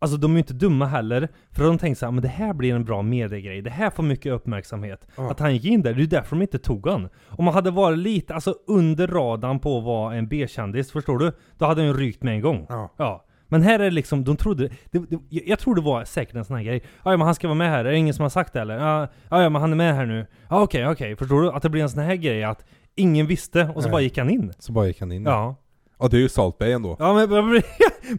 Speaker 1: Alltså de är ju inte dumma heller, för de tänkte såhär, men det här blir en bra mediegrej, det här får mycket uppmärksamhet.
Speaker 2: Ja.
Speaker 1: Att han gick in där, det är ju därför de inte tog han. Om han hade varit lite, alltså under radarn på att vara en B-kändis, förstår du? Då hade han ju rykt med en gång.
Speaker 2: Ja.
Speaker 1: Men här är det liksom, de trodde, det, det, jag- jag tror det var säkert en sån här grej. Ja ja, men han ska vara med här, är det ingen som har sagt det eller? Ja ja, ja, men han är med här nu. Ja okej, okej, förstår du? Att det blir en sån här grej att ingen visste och så
Speaker 2: Nej. Mm.
Speaker 1: bara gick han in.
Speaker 2: Så bara gick han in.
Speaker 1: Ja.
Speaker 2: Ja, det är ju Salt Bay ändå.
Speaker 1: Ja men, men,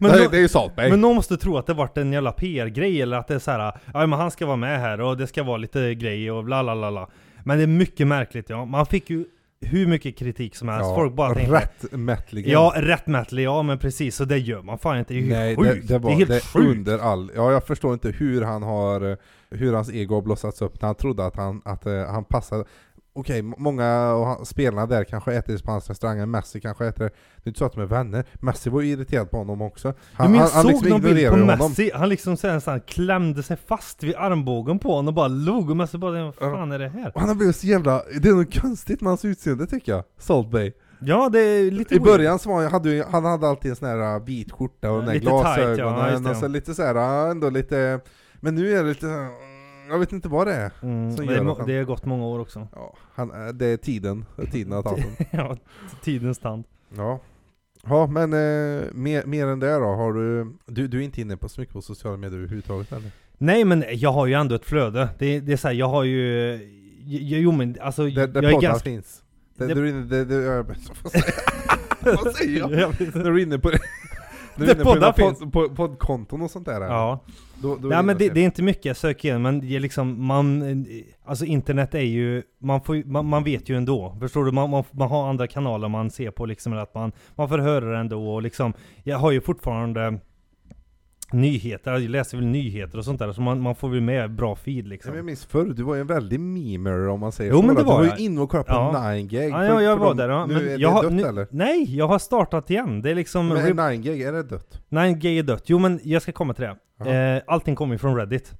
Speaker 2: det,
Speaker 1: då-
Speaker 2: är- det är ju Salt Bay.
Speaker 1: men någon måste tro att det vart en jävla PR-grej eller att det är så här, ja men han ska vara med här och det ska vara lite grejer och bla bla bla bla. Men det är mycket märkligt ja, man fick ju hur mycket kritik som helst, Alltså, folk bara tänkte
Speaker 2: rättmätligen.
Speaker 1: Ja, rättmätlig, ja men precis, så det gör man fan inte, det är ju
Speaker 2: Nej,
Speaker 1: helt
Speaker 2: det,
Speaker 1: sjukt!
Speaker 2: det, var,
Speaker 1: är helt sjukt!
Speaker 2: under all... Ja, jag förstår inte hur han har... eh, Hur hans ego har blossats upp när han trodde att han, att, eh, han passade... Okej, m- många av han- spelarna där kanske äter i spanska restauranger, Messi kanske äter... Det är inte så att de är vänner. Messi var ju irriterad på honom också.
Speaker 1: Ja, men jag
Speaker 2: han liksom
Speaker 1: såg någon bild på
Speaker 2: ignorerar ju
Speaker 1: Messi, han liksom så här, så här, klämde sig fast vid armbågen på honom och bara log och Messi bara vad fan är det här?
Speaker 2: Och han har blivit så jävla... Det är något konstigt med hans utseende tycker jag. Salt Bay.
Speaker 1: Ja det är lite
Speaker 2: I
Speaker 1: weird.
Speaker 2: början så var han, hade ju- han hade alltid en sån här äh, vit skjorta och den där
Speaker 1: Lite tight, ja, ja,
Speaker 2: glasögonen.
Speaker 1: just det.
Speaker 2: och så lite så här, äh, ändå lite... Men nu är det lite... äh, Jag vet inte vad det är.
Speaker 1: mm,
Speaker 2: som
Speaker 1: men
Speaker 2: gör
Speaker 1: det,
Speaker 2: att
Speaker 1: må-
Speaker 2: han-
Speaker 1: det har gått många år också.
Speaker 2: Ja, han, eh, det är tiden. Det är Tiden att han.
Speaker 1: ja, tidens tand.
Speaker 2: Ja. Ja, men eh, mer, mer än det då, har du, du... Du är inte inne på så mycket på sociala medier överhuvudtaget eller?
Speaker 1: Nej men jag har ju ändå ett flöde. Det, det är såhär, jag har ju... Jo, jo men alltså,
Speaker 2: Där, där
Speaker 1: jag är
Speaker 2: poddar
Speaker 1: ganska...
Speaker 2: finns. Där,
Speaker 1: Det-
Speaker 2: Du är inne... Där, där, jag, vad säger jag? Vad säger jag?
Speaker 1: Jag vet inte.
Speaker 2: När du är inne på det. När du är
Speaker 1: Där
Speaker 2: inne på dina
Speaker 1: poddar
Speaker 2: podd, pod, poddkonton och sånt där. eller?
Speaker 1: Ja.
Speaker 2: Då, då är
Speaker 1: Nej men
Speaker 2: du inne
Speaker 1: det,
Speaker 2: och
Speaker 1: det är inte mycket jag söker igen, men det är liksom, man... eh, Alltså internet är ju... Man, får, ju- man, man vet ju ändå. Förstår du? Man, man, man har andra kanaler man ser på liksom, eller att man, man får höra det ändå och liksom... Jag har ju fortfarande... nyheter, jag läser väl nyheter och sånt där, så man, man får väl med bra feed
Speaker 2: Ja,
Speaker 1: liksom.
Speaker 2: men jag minns förr, du var ju en väldig memer om man säger
Speaker 1: Jo,
Speaker 2: så.
Speaker 1: men det
Speaker 2: du
Speaker 1: var
Speaker 2: var
Speaker 1: jag.
Speaker 2: ju inne och kollade på
Speaker 1: Ja.
Speaker 2: 9gag.
Speaker 1: Ja, ja, jag var där. Ja.
Speaker 2: Nu
Speaker 1: Men
Speaker 2: är det
Speaker 1: jag har-
Speaker 2: dött
Speaker 1: nu-
Speaker 2: eller?
Speaker 1: Nej, jag har startat igen. Det är liksom...
Speaker 2: Men
Speaker 1: Rip-
Speaker 2: 9gag, är det dött?
Speaker 1: Nej, gay är dött. Jo men jag ska komma till det.
Speaker 2: Ja.
Speaker 1: Eh, allting kommer ju från Reddit.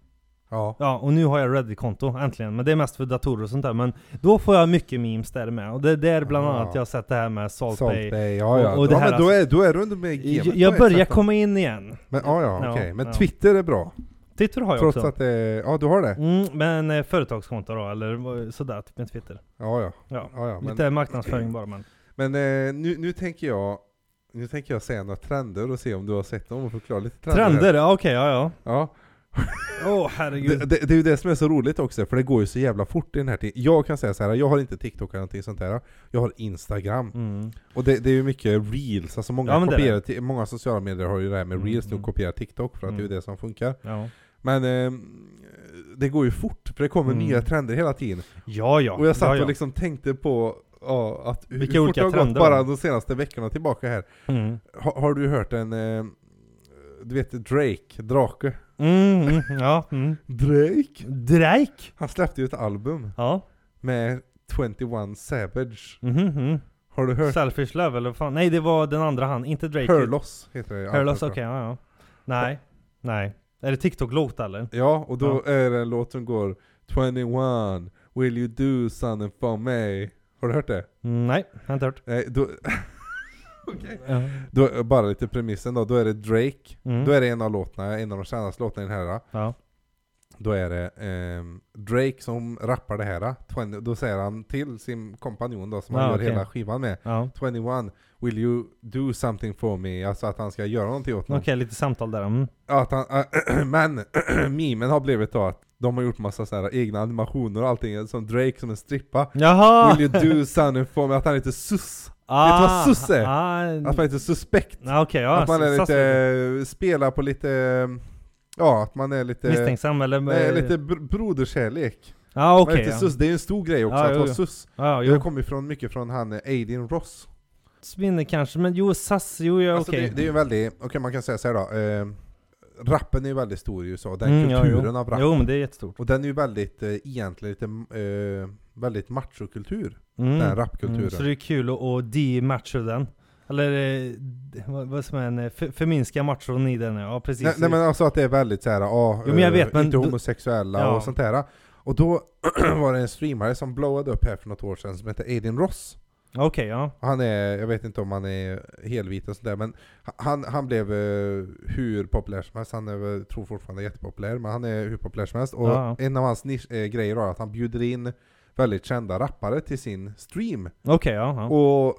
Speaker 2: Ja.
Speaker 1: Ja, och nu har jag Reddit-konto äntligen. Men det är mest för datorer och sånt där. Men då får jag mycket memes där med. Och det är där bland
Speaker 2: Ah.
Speaker 1: annat jag har sett det här med Salt,
Speaker 2: Salt
Speaker 1: Bay.
Speaker 2: Bay, ja ja.
Speaker 1: Och- och det
Speaker 2: ja
Speaker 1: här alltså-
Speaker 2: men då är, då är du ändå med i gamet
Speaker 1: Jag,
Speaker 2: på
Speaker 1: jag
Speaker 2: ett
Speaker 1: börjar
Speaker 2: sätt då.
Speaker 1: komma in igen.
Speaker 2: Men ja, ja,
Speaker 1: Ja,
Speaker 2: okej. Men
Speaker 1: ja.
Speaker 2: Twitter är bra.
Speaker 1: Twitter har jag
Speaker 2: Trots
Speaker 1: också.
Speaker 2: att det är, ja du har det?
Speaker 1: Mm, men eh, företagskonto då, eller eh, sådär, typ med Twitter.
Speaker 2: Ja ja.
Speaker 1: Ja.
Speaker 2: ja, ja. Men,
Speaker 1: Lite marknadsföring bara men.
Speaker 2: men eh, nu, nu tänker jag nu tänker jag säga några trender och se om du har sett dem och förklara lite trender. här.
Speaker 1: Trender, ja okej, ja ja.
Speaker 2: Ja.
Speaker 1: Åh
Speaker 2: Det,
Speaker 1: herregud.
Speaker 2: det, det är ju det som är så roligt också, för det går ju så jävla fort i den här tiden. Jag kan säga så här, jag har inte TikTok eller någonting sånt där. Jag har Instagram.
Speaker 1: Mm.
Speaker 2: Och det, det är ju mycket reels, alltså många,
Speaker 1: Ja, men det är
Speaker 2: kopierar, ti- många sociala medier har ju det här med
Speaker 1: Mm,
Speaker 2: reels nu
Speaker 1: mm.
Speaker 2: och kopierar TikTok för att det är
Speaker 1: Mm.
Speaker 2: ju det som funkar.
Speaker 1: Ja.
Speaker 2: Men ehm, det går ju fort, för det kommer
Speaker 1: Mm.
Speaker 2: nya trender hela tiden.
Speaker 1: ja, ja.
Speaker 2: och jag satt
Speaker 1: ja, ja.
Speaker 2: och liksom tänkte på ja, att hur
Speaker 1: Vilka
Speaker 2: fort
Speaker 1: olika
Speaker 2: det har gått
Speaker 1: trender
Speaker 2: bara
Speaker 1: då?
Speaker 2: de senaste veckorna tillbaka här.
Speaker 1: Mm.
Speaker 2: Ha, har du hört en, eh, du vet Drake, Drake?
Speaker 1: Mm, mm, ja. Mm.
Speaker 2: Drake?
Speaker 1: Drake?
Speaker 2: Han släppte ju ett album
Speaker 1: Ja.
Speaker 2: med 21 Savage.
Speaker 1: Mhm, mhm.
Speaker 2: Har du hört?
Speaker 1: Selfish Love eller vad fan? Nej det var den andra han, inte Drake.
Speaker 2: Hurlos heter det.
Speaker 1: Hurlos, okej,
Speaker 2: albumet, tror jag.
Speaker 1: ja, ja. Nej. Nej. Är det TikTok-låt eller?
Speaker 2: Ja, och då är det en låt som går 21 Will you do something for me? Har du hört det?
Speaker 1: Mm, nej, jag har inte hört.
Speaker 2: Nej, då,
Speaker 1: Ja.
Speaker 2: då, bara lite premissen då. Då är det Drake.
Speaker 1: Mm.
Speaker 2: Då är det en av låtarna, en av de kändaste låtarna i den här.
Speaker 1: Ja.
Speaker 2: Då är det ehm, Drake som rappar det här. 20, då säger han till sin kompanjon då, som han
Speaker 1: Ah,
Speaker 2: gör
Speaker 1: okej.
Speaker 2: hela skivan med.
Speaker 1: ja.
Speaker 2: 21 Will you do something for me? Alltså att han ska göra någonting åt
Speaker 1: Okej,
Speaker 2: någon.
Speaker 1: lite samtal där. Mm.
Speaker 2: Ja, Att han, äh, men memen har blivit då att de har gjort massa så här egna animationer och allting, som Drake som en strippa.
Speaker 1: Jaha!
Speaker 2: Will you do something for me? Att han är lite sus.
Speaker 1: ah,
Speaker 2: vet du vad sus är?
Speaker 1: Ah, n-
Speaker 2: Att man är lite suspekt.
Speaker 1: ah, okej, ja.
Speaker 2: att man är
Speaker 1: sus-
Speaker 2: lite, spelar på lite, ja att man är lite
Speaker 1: Misstänksam eller?
Speaker 2: Nej, lite br- broderskärlek.
Speaker 1: Ja ah, okej.
Speaker 2: Man är lite
Speaker 1: ja.
Speaker 2: sus, det är ju en stor grej också
Speaker 1: Ja,
Speaker 2: att
Speaker 1: jo,
Speaker 2: vara
Speaker 1: jo.
Speaker 2: sus.
Speaker 1: Ja,
Speaker 2: Det
Speaker 1: jo.
Speaker 2: kommer ju från, mycket från han eh, Aidin Ross.
Speaker 1: Spinner kanske, men jo, SAS, jo, ja,
Speaker 2: Alltså
Speaker 1: okej.
Speaker 2: det, det är ju väldigt, okej man kan säga så här då, eh, rappen är ju väldigt stor i USA, den
Speaker 1: Mm, ja,
Speaker 2: kulturen
Speaker 1: jo.
Speaker 2: av rap.
Speaker 1: Jo, men det är jättestort.
Speaker 2: Och den är ju väldigt, eh, egentligen lite, eh, väldigt machokultur,
Speaker 1: Mm.
Speaker 2: den här rapkulturen.
Speaker 1: Mm, så det är kul att, att de-matcha den. Eller eh, d- vad, vad som är en, eh, för, förminska matchon i den ja, precis.
Speaker 2: nej, nej men alltså att det är väldigt såhär, ah,
Speaker 1: Jo, men jag
Speaker 2: eh,
Speaker 1: vet, men
Speaker 2: inte
Speaker 1: du-
Speaker 2: homosexuella
Speaker 1: Ja.
Speaker 2: och sånt där. Och då var det en streamare som blowade upp här för något år sedan som hette Aidin Ross.
Speaker 1: Okej, ja.
Speaker 2: Och Han är, jag vet inte om han är helvit och sådär, men han, han blev eh, hur populär som helst. Han är, väl- tror fortfarande jättepopulär, men han är hur populär som helst. Och
Speaker 1: Ja.
Speaker 2: en av hans nisch, eh, grejer var att han bjuder in väldigt kända rappare till sin stream.
Speaker 1: Okej, ja. ja.
Speaker 2: Och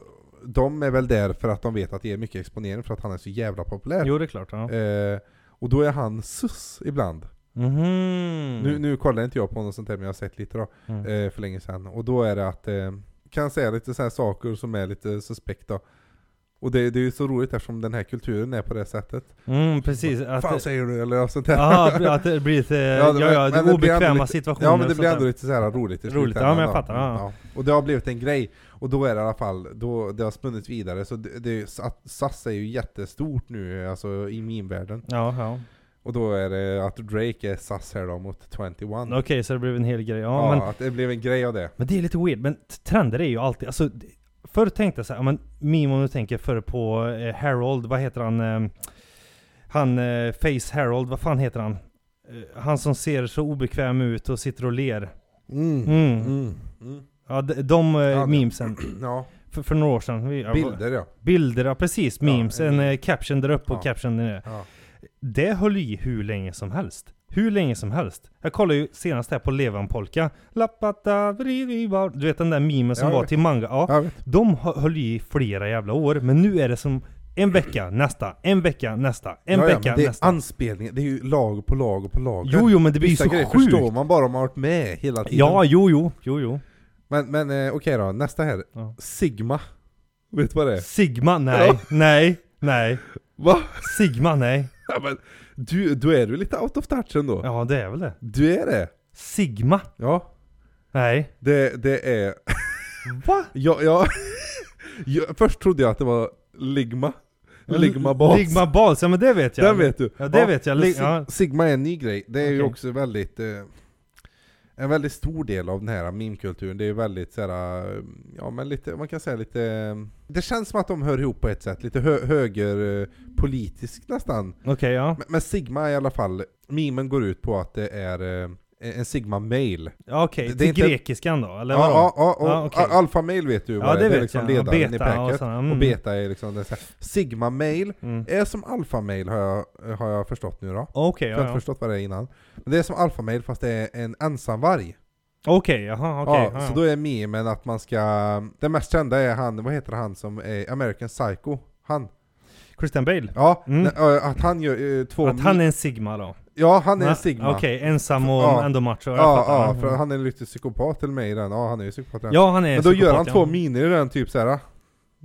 Speaker 2: de är väl där för att de vet att det är mycket exponering för att han är så jävla populär.
Speaker 1: Jo, det är klart. Ja.
Speaker 2: Eh, och då är han sus ibland.
Speaker 1: Mhm.
Speaker 2: Nu, nu kollar inte jag på något sånt där men jag har sett lite då,
Speaker 1: Mm.
Speaker 2: eh, för länge sedan. Och då är det att, eh, kan säga lite sådana saker som är lite suspekta. Och det, det är ju så roligt eftersom den här kulturen är på det sättet.
Speaker 1: Mm, precis. Att,
Speaker 2: Fan säger du? Eller något sånt där.
Speaker 1: aha, att det blir lite ja,
Speaker 2: det-
Speaker 1: ja, ja,
Speaker 2: men det blir
Speaker 1: obekväma
Speaker 2: ändå lite-
Speaker 1: situationer.
Speaker 2: Ja men det
Speaker 1: och
Speaker 2: blir
Speaker 1: sånt
Speaker 2: ändå
Speaker 1: där.
Speaker 2: lite så här roligt i
Speaker 1: Roligt, ja,
Speaker 2: slutändan
Speaker 1: men jag
Speaker 2: då.
Speaker 1: fattar, ja.
Speaker 2: Och det har blivit en grej. Och då är det i alla fall, då, det har spunnit vidare. Så det, det, SAS är ju jättestort nu, alltså i meme-världen.
Speaker 1: Ja, ja.
Speaker 2: Och då är det att Drake är SAS här då mot 21.
Speaker 1: Okej, så det blev en hel grej. Ja,
Speaker 2: Ja,
Speaker 1: Men,
Speaker 2: att det blev en grej av det.
Speaker 1: men det är lite weird. Men t- trender är ju alltid... Alltså, d- förr tänkte jag så här, ja, men Mimo nu tänker jag förr på eh, Harold, vad heter han? Eh, han eh, Face Harold, vad fan heter han? Eh, han som ser så obekväm ut och sitter och ler. Mm.
Speaker 2: Mm. Mm.
Speaker 1: Ja, de, de eh,
Speaker 2: Ja, det-
Speaker 1: memesen.
Speaker 2: Ja,
Speaker 1: För, för några år sedan. Vi, ja,
Speaker 2: bilder ja.
Speaker 1: Bilder, ja precis.
Speaker 2: Ja,
Speaker 1: Memes.
Speaker 2: en
Speaker 1: en
Speaker 2: bild.
Speaker 1: eh, caption där uppe och
Speaker 2: Ja.
Speaker 1: caption där nere.
Speaker 2: ja.
Speaker 1: Det höll i hur länge som helst. Hur länge som helst. Jag kollade ju senast här på Levanpolka. Lappata, vridiva. Du vet den där memen som
Speaker 2: Ja, jag
Speaker 1: var
Speaker 2: vet.
Speaker 1: till manga. Ja,
Speaker 2: Jag vet.
Speaker 1: de hö- höll i flera jävla år. Men nu är det som en vecka, nästa, en vecka, nästa, en
Speaker 2: ja, ja,
Speaker 1: vecka,
Speaker 2: men det är
Speaker 1: nästa.
Speaker 2: anspelningar, det är ju lager på lager på lager.
Speaker 1: Jo, jo, men det blir ju
Speaker 2: Vissa
Speaker 1: så
Speaker 2: grejer
Speaker 1: sjukt.
Speaker 2: förstår man bara om man har varit med hela tiden.
Speaker 1: Ja, jo, jo, jo, jo.
Speaker 2: Men, men eh, okej då, nästa här.
Speaker 1: Ja.
Speaker 2: Sigma. Vet du vad det är?
Speaker 1: Sigma, nej,
Speaker 2: Ja.
Speaker 1: nej, nej.
Speaker 2: Va?
Speaker 1: Sigma, nej.
Speaker 2: Ja, men, du, då är du lite out of touch ändå.
Speaker 1: Ja, det är väl det.
Speaker 2: Du är det.
Speaker 1: Sigma,
Speaker 2: Ja.
Speaker 1: nej.
Speaker 2: Det, det är...
Speaker 1: Va?
Speaker 2: Ja, ja. jag, först trodde jag att det var Ligma. Ligma Balls.
Speaker 1: Ligma Balls, Mm. ja men det vet jag.
Speaker 2: Den vet du!
Speaker 1: Ja, det vet jag.
Speaker 2: Lig-
Speaker 1: Ja.
Speaker 2: Sigma är en ny grej, det är ju
Speaker 1: Okej.
Speaker 2: också väldigt eh, En väldigt stor del av den här meme-kulturen, det är ju väldigt såhär, eh, ja men lite, man kan säga lite eh, Det känns som att de hör ihop på ett sätt, lite hö- höger eh, politiskt nästan
Speaker 1: Okej, ja.
Speaker 2: men, men Sigma i alla fall, memen går ut på att det är eh, en Sigma-mail
Speaker 1: ja Okej,
Speaker 2: Det- det är
Speaker 1: till
Speaker 2: inte-
Speaker 1: grekiskan då? Eller
Speaker 2: Ja,
Speaker 1: vadå?
Speaker 2: ja, ja, och
Speaker 1: Ja, okej.
Speaker 2: al- alfa-mail vet du vad
Speaker 1: Ja,
Speaker 2: det
Speaker 1: det
Speaker 2: är, det är
Speaker 1: vet
Speaker 2: liksom
Speaker 1: jag. Ja,
Speaker 2: ledaren i
Speaker 1: beta och
Speaker 2: packet
Speaker 1: sådana, mm.
Speaker 2: Och beta är liksom, det är så här- Sigma-mail
Speaker 1: Mm.
Speaker 2: är som alfa-mail har jag, har jag förstått nu då
Speaker 1: Okej,
Speaker 2: Jag har inte
Speaker 1: ja, ja.
Speaker 2: förstått vad det är innan. Men det är som alfamail fast det är en ensamvarg.
Speaker 1: Okej, jaha, okej.
Speaker 2: ja,
Speaker 1: ja,
Speaker 2: Så då är memen att man ska... Den mest kända är han, vad heter han som är American Psycho? Han.
Speaker 1: Christian Bale?
Speaker 2: Ja,
Speaker 1: Mm.
Speaker 2: nej, ö, att han gör ö, två...
Speaker 1: Att han är en Sigma då?
Speaker 2: Ja, han är en
Speaker 1: Ja,
Speaker 2: Sigma.
Speaker 1: Okej, ensam och
Speaker 2: Ja.
Speaker 1: ändå macho. Jag
Speaker 2: Ja,
Speaker 1: fattar. Mm.
Speaker 2: ja, för han är lite psykopat till mig i den. Ja, han är ju psykopat i den.
Speaker 1: ja, han är
Speaker 2: Men då gör
Speaker 1: psykopat,
Speaker 2: han
Speaker 1: ja.
Speaker 2: två miner i den, typ såhär.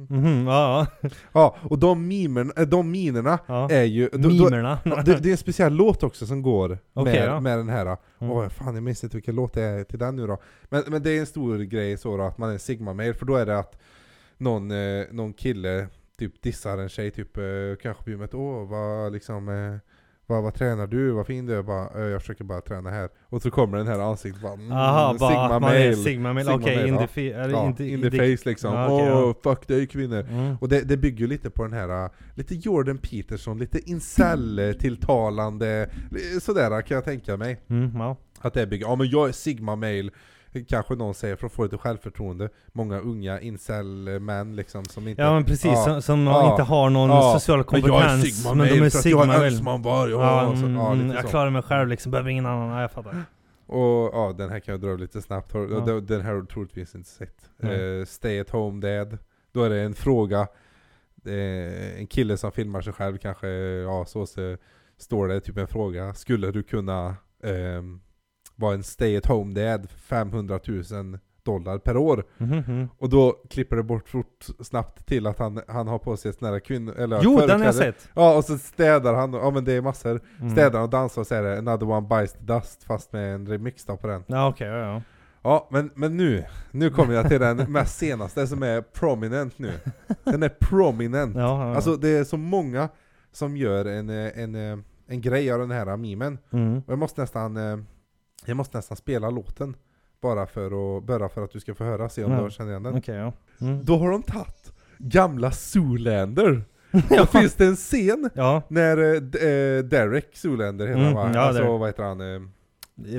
Speaker 1: Mhm, ja,
Speaker 2: Ja, och de mimerna, äh, de minerna
Speaker 1: ja. ja.
Speaker 2: är ju... Eh, då- då-
Speaker 1: Mimerna.
Speaker 2: Ja, det, det är en speciell låt också som går
Speaker 1: Okej,
Speaker 2: med,
Speaker 1: ja.
Speaker 2: med den här. Åh,
Speaker 1: Mm.
Speaker 2: fan, jag minns inte vilken låt det är till den nu då. Men, men det är en stor grej så då, att man är Sigma-mail, för då är det att någon, eh, någon kille typ dissar en tjej, typ eh, kanske på gymmet. Åh, vad liksom... Eh, vad, vad tränar du? Vad fin du är? Jag Bara, "Eh, jag försöker bara träna här. Och så kommer den här ansiktet bara, mm,
Speaker 1: Aha, bara att man är
Speaker 2: Sigma-mail.
Speaker 1: Sigma-mail.
Speaker 2: Sigma
Speaker 1: Okej,
Speaker 2: male,
Speaker 1: in
Speaker 2: ja.
Speaker 1: the fi- eller
Speaker 2: ja,
Speaker 1: inte-
Speaker 2: in
Speaker 1: i
Speaker 2: the
Speaker 1: det-
Speaker 2: face liksom.
Speaker 1: Ja,
Speaker 2: Åh,
Speaker 1: okej, ja.
Speaker 2: fuck dig kvinnor.
Speaker 1: Mm.
Speaker 2: Och det, det bygger ju lite på den här, lite Jordan Peterson, lite incel-tilltalande, eh, sådär kan jag tänka mig.
Speaker 1: Mm, ja.
Speaker 2: Att det bygger, ja men jag är sigma-mail, kanske någon säger för att få lite självförtroende. Många unga incel-män liksom som inte...
Speaker 1: ja, men precis.
Speaker 2: Ja.
Speaker 1: Som, som
Speaker 2: Ja.
Speaker 1: inte har någon
Speaker 2: Ja.
Speaker 1: social
Speaker 2: Men jag är
Speaker 1: kompetens. Men,
Speaker 2: sigma-mail
Speaker 1: de är
Speaker 2: för att jag är
Speaker 1: Sigma-mail.
Speaker 2: ensam varg,
Speaker 1: Ja,
Speaker 2: ja, alltså. så,
Speaker 1: mm,
Speaker 2: ja,
Speaker 1: mm,
Speaker 2: lite
Speaker 1: jag
Speaker 2: så.
Speaker 1: klarar mig själv liksom, behöver ingen annan. Ja, jag fattar.
Speaker 2: Och ja, den här kan jag dra lite snabbt, Har-
Speaker 1: Ja.
Speaker 2: den- den här har du troligtvis inte sett.
Speaker 1: Nej.
Speaker 2: Eh, stay at home dad, då är det en fråga, eh, en kille som filmar sig själv kanske, ja så, så står det typ en fråga, skulle du kunna ehm, vara en stay at home dad för 500 000 dollar per år?
Speaker 1: Mhm, mhm.
Speaker 2: Och då klipper det bort fort snabbt till att han, han har på sig ett sånt där kvinno... Eller
Speaker 1: Jo, den har
Speaker 2: förkläde.
Speaker 1: jag sett!
Speaker 2: Ja, och så städar han, ja men det är massor.
Speaker 1: Mm.
Speaker 2: Städar och dansar och så är det 'Another one bites the dust' fast med en remix då på den.
Speaker 1: Ja, okej, ja, ja.
Speaker 2: Ja, men, men nu, nu kommer jag till den mest senaste som är prominent nu. Den är prominent.
Speaker 1: ja, ja, ja.
Speaker 2: Alltså det är så många som gör en, eh, en, eh, en grej av den här memen.
Speaker 1: mm.
Speaker 2: Och jag måste nästan, eh, jag måste nästan spela låten. Bara för, att, bara för att du ska få höra, se om
Speaker 1: Ja.
Speaker 2: du känner igen den.
Speaker 1: Okej, ja. Mm.
Speaker 2: Då har de tagit gamla Zoolander. Då
Speaker 1: ja.
Speaker 2: finns det en scen
Speaker 1: ja,
Speaker 2: när eh, D- eh, Derek Zoolander heter han
Speaker 1: Mm,
Speaker 2: va?
Speaker 1: ja,
Speaker 2: alltså
Speaker 1: Derek.
Speaker 2: vad heter han? Eh,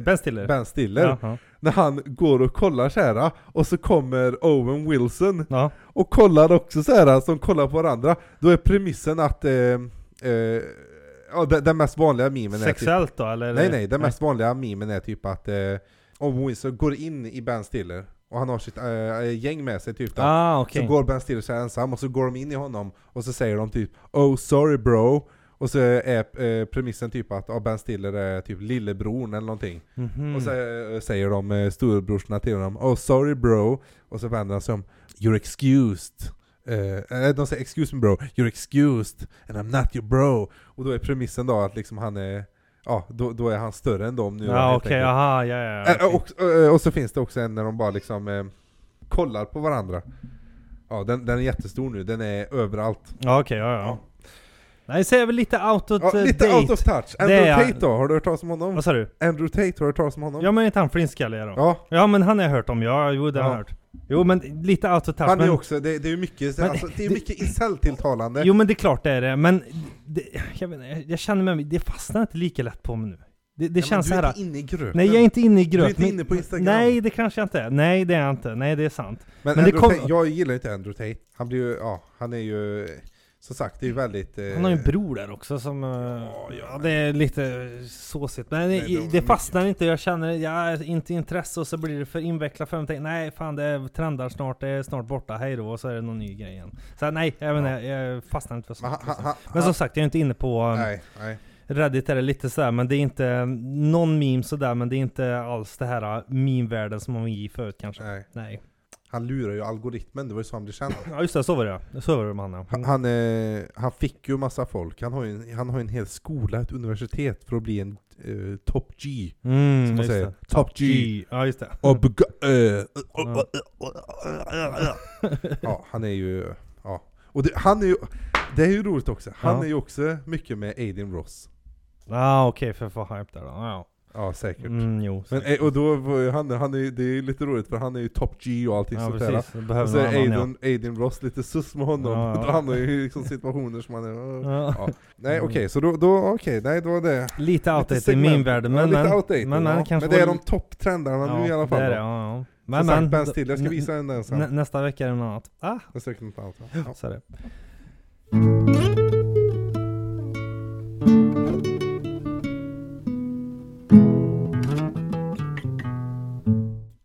Speaker 1: Ben Stiller.
Speaker 2: Ben Stiller.
Speaker 1: Ja, ja.
Speaker 2: När han går och kollar så här och så kommer Owen Wilson
Speaker 1: ja.
Speaker 2: och kollar också så här som kollar på varandra. Då är premissen att eh, eh, ja, den, den mest vanliga memen är typ,
Speaker 1: Sexuellt då eller?
Speaker 2: Nej nej, den mest vanliga memen är typ att eh, Owen Wilson går in i Ben Stiller och han har sitt eh, gäng med sig typ då.
Speaker 1: Ah, okej.
Speaker 2: Så går Ben Stiller så här ensam och så går de in i honom och så säger de typ Oh sorry bro och så är eh, premissen typ att ah, Ben Stiller är typ lillebrorn eller någonting.
Speaker 1: Mhm.
Speaker 2: Och så eh, säger de eh, storebrorsorna till honom Oh sorry bro Och så vänder han sig om You're excused Eh, eh, De säger excuse me bro, you're excused and I'm not your bro Och då är premissen då att liksom han är Ja, då, då är han större än dem nu
Speaker 1: Ja,
Speaker 2: helt
Speaker 1: okej,
Speaker 2: enkelt.
Speaker 1: aha, ja, ja. ja,
Speaker 2: Eh, eh,
Speaker 1: okej.
Speaker 2: och, eh, och så finns det också en när de bara liksom eh, Kollar på varandra Ja, den, den är jättestor nu, den är överallt
Speaker 1: Ja, okej, ja, ja.
Speaker 2: Ja.
Speaker 1: Nej, så är väl lite out of
Speaker 2: ja,
Speaker 1: eh,
Speaker 2: Lite
Speaker 1: date.
Speaker 2: out of touch!
Speaker 1: Det är-
Speaker 2: Andrew Tate då, har du hört talas om honom?
Speaker 1: Vad sa du?
Speaker 2: Andrew Tate, har du hört talas om honom?
Speaker 1: Ja, men är inte han flintskallig då? Ja.
Speaker 2: ja.
Speaker 1: men han har jag hört om, ja, jo, det har jag
Speaker 2: Ja.
Speaker 1: hört. Jo, men lite out of touch.
Speaker 2: Han är
Speaker 1: men...
Speaker 2: också, det, det är ju mycket,
Speaker 1: Men-
Speaker 2: alltså, det är
Speaker 1: det-
Speaker 2: mycket incel-tilltalande.
Speaker 1: Jo men det är klart det är det, men det, jag, vet, inte, jag- jag känner mig, det fastnar inte lika lätt på mig nu. Det, det
Speaker 2: Ja, men
Speaker 1: känns så
Speaker 2: Du är
Speaker 1: här.
Speaker 2: inte inne i gruppen.
Speaker 1: Nej jag är inte inne i
Speaker 2: Du är
Speaker 1: gruppen.
Speaker 2: inte inne på Instagram.
Speaker 1: Nej det kanske jag inte är. Nej det är jag inte. Nej det är sant.
Speaker 2: men
Speaker 1: men det
Speaker 2: Andrew
Speaker 1: kom-
Speaker 2: Tate, jag gillar inte Andrew Tate. Han blir ju, ja, han är ju, som sagt, det är ju väldigt... eh,
Speaker 1: Han har ju en bror där också som... eh,
Speaker 2: ja,
Speaker 1: ja
Speaker 2: men-
Speaker 1: det är lite såsigt. Men
Speaker 2: Nej, de
Speaker 1: det,
Speaker 2: är
Speaker 1: det fastnar inte. Jag känner, jag är inte intresse och så blir det för invecklat för mig. Tänk, Nej fan det är trendar snart, det är snart borta, hej då. Och så är det någon ny grej igen. Så nej, jag, vet inte, jag fastnar inte för
Speaker 2: men
Speaker 1: sånt.
Speaker 2: han- han- han-
Speaker 1: Men som sagt, jag är inte inne på...
Speaker 2: han-
Speaker 1: eh,
Speaker 2: Nej, nej.
Speaker 1: Reddit är det lite sådär, men det är inte um, någon meme sådär, men det är inte alls det här uh, meme-världen som man var i förut kanske.
Speaker 2: nej.
Speaker 1: Nej.
Speaker 2: Han lurar ju algoritmen, det var ju så han blev känd.
Speaker 1: Ja just det, så var det Så var det med han ja.
Speaker 2: Han, han, eh, han fick ju massa folk. Han har ju en, han har ju en hel skola, ett universitet för att bli en eh, top G.
Speaker 1: Mm,
Speaker 2: Som man
Speaker 1: just
Speaker 2: säger.
Speaker 1: det.
Speaker 2: Top G.
Speaker 1: G. Ja just det.
Speaker 2: Och bega- eh, Ja, han är ju... Ja. Och det, han är ju... Det är ju roligt också. Han
Speaker 1: Ja.
Speaker 2: är ju också mycket med Aiden Ross.
Speaker 1: Ah, okej, för för hype där då. Ja,
Speaker 2: Ja, säkert.
Speaker 1: mm, jo.
Speaker 2: Men, eh, och då var ju han, han är, ju- det är ju lite roligt för han är ju top G och allting
Speaker 1: ja,
Speaker 2: sånt där.
Speaker 1: precis. Det behöver
Speaker 2: Och så är
Speaker 1: någon annan,
Speaker 2: Aiden, Aiden Ross lite sus med honom.
Speaker 1: Ja, ja.
Speaker 2: Då hamnar ju i liksom situationer som man är...
Speaker 1: ja. Ja. Mm.
Speaker 2: Ja. Nej okej, så då, då okej, nej då var det.
Speaker 1: Lite outdated i
Speaker 2: segment.
Speaker 1: min värld,
Speaker 2: ja,
Speaker 1: men...
Speaker 2: lite
Speaker 1: men,
Speaker 2: outdated,
Speaker 1: men,
Speaker 2: ja.
Speaker 1: han kanske
Speaker 2: men det är
Speaker 1: var-
Speaker 2: de topptrendarna
Speaker 1: ja,
Speaker 2: nu i alla fall.
Speaker 1: det är
Speaker 2: då.
Speaker 1: det, ja, ja.
Speaker 2: Men,
Speaker 1: Men,
Speaker 2: Som
Speaker 1: men,
Speaker 2: sagt, Ben Stiller, jag ska
Speaker 1: nä-
Speaker 2: visa en den sen.
Speaker 1: nä- nästa vecka är det något annat. Ah,
Speaker 2: Jag söker något annat. Ja.
Speaker 1: så är det.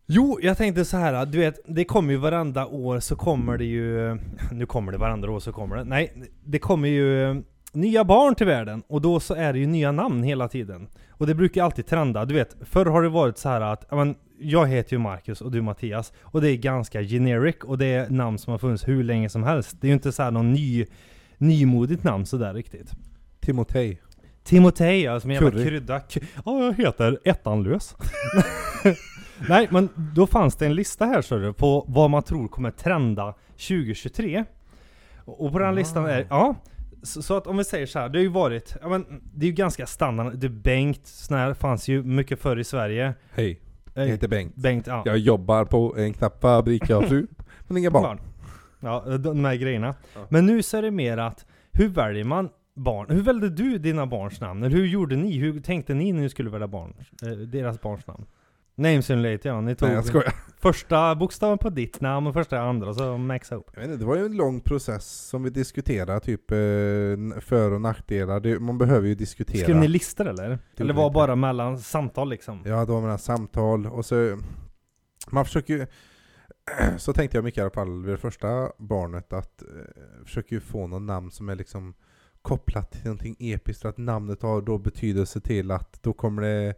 Speaker 1: Jo, jag tänkte så här. Du vet, det kommer ju varandra år så kommer det ju... Nu kommer det varandra år så kommer det. Nej, det kommer ju nya barn till världen. Och då så är det ju nya namn hela tiden. Och det brukar ju alltid trenda. Du vet, förr har det varit så här att... ja, Men, jag heter ju Marcus och du Mattias. Och det är ganska generic. Och det är namn som har funnits hur länge som helst. Det är ju inte så här någon ny, nymodigt namn sådär riktigt.
Speaker 2: Timotej.
Speaker 1: Timotej, alltså med jävla
Speaker 2: Curry.
Speaker 1: krydda. K- Ja, jag heter Ettanlös. Nej, men då fanns det en lista här så du, på vad man tror kommer trenda 2023. Och och på den här listan är, ja. Så, så att om vi säger så här, det har ju varit, ja men det är ju ganska standard. Det är Bengt, sån här fanns ju mycket förr i Sverige.
Speaker 2: Hej, jag
Speaker 1: Eh,
Speaker 2: heter Bengt.
Speaker 1: Bengt, ja.
Speaker 2: Jag jobbar på en knappfabrik, jag har fru. Men inga barn.
Speaker 1: barn. Ja, eh, de här grejerna.
Speaker 2: Ja.
Speaker 1: Men nu så är det mer att, hur väljer man barn? Hur väljer du dina barns namn? Eller hur gjorde ni? Hur tänkte ni när ni skulle välja barn, eh, deras barns namn? Name Simulator ja, ni tog
Speaker 2: Nej jag skojar.
Speaker 1: första bokstaven på ditt namn och första andra, så maxa upp.
Speaker 2: Jag vet inte, det var ju en lång process som vi diskuterade, typ eh, n- för och nackdelar. Det, man behöver ju diskutera.
Speaker 1: Skrev ni listor eller? Eller var
Speaker 2: inte.
Speaker 1: bara mellan samtal liksom?
Speaker 2: Ja, då med den här samtal och så... Man försöker ju... Så tänkte jag mycket i alla fall vid det första barnet att eh, försöker ju få något namn som är liksom kopplat till någonting episkt. För att namnet har då betydelse till att då kommer det...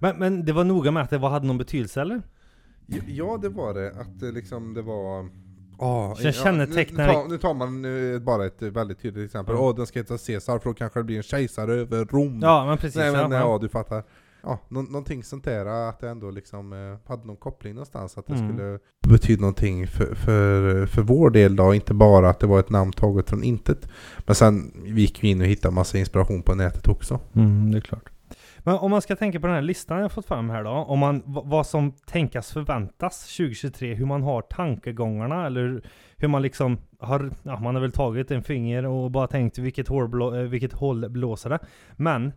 Speaker 1: Men, men det var noga med att det var, hade någon betydelse eller?
Speaker 2: Mm. Ja, det var det. Att eh, liksom det var... Oh,
Speaker 1: Så kännetecknar-
Speaker 2: nu, tar, nu tar man eh, bara ett eh, väldigt tydligt exempel. Åh,
Speaker 1: Ja.
Speaker 2: den ska heta Caesar för då kanske det blir en kejsare över Rom.
Speaker 1: Ja, men precis.
Speaker 2: Nej men
Speaker 1: ja,
Speaker 2: ja,
Speaker 1: ja.
Speaker 2: du fattar. Ja, nå- någonting sånt där, att det ändå liksom eh, hade någon koppling någonstans, att det
Speaker 1: Mm.
Speaker 2: skulle betyda någonting för, för, för vår del då, inte bara att det var ett namn taget från intet. Men sen vi gick vi in och hittade massa inspiration på nätet också.
Speaker 1: Mm, det är klart. Men om man ska tänka på den här listan jag fått fram här då, om man, v- vad som tänkas förväntas 2023, hur man har tankegångarna eller hur man liksom har, ja, man har väl tagit en finger och bara tänkt vilket, hår blå, eh, vilket håll blåser det. Men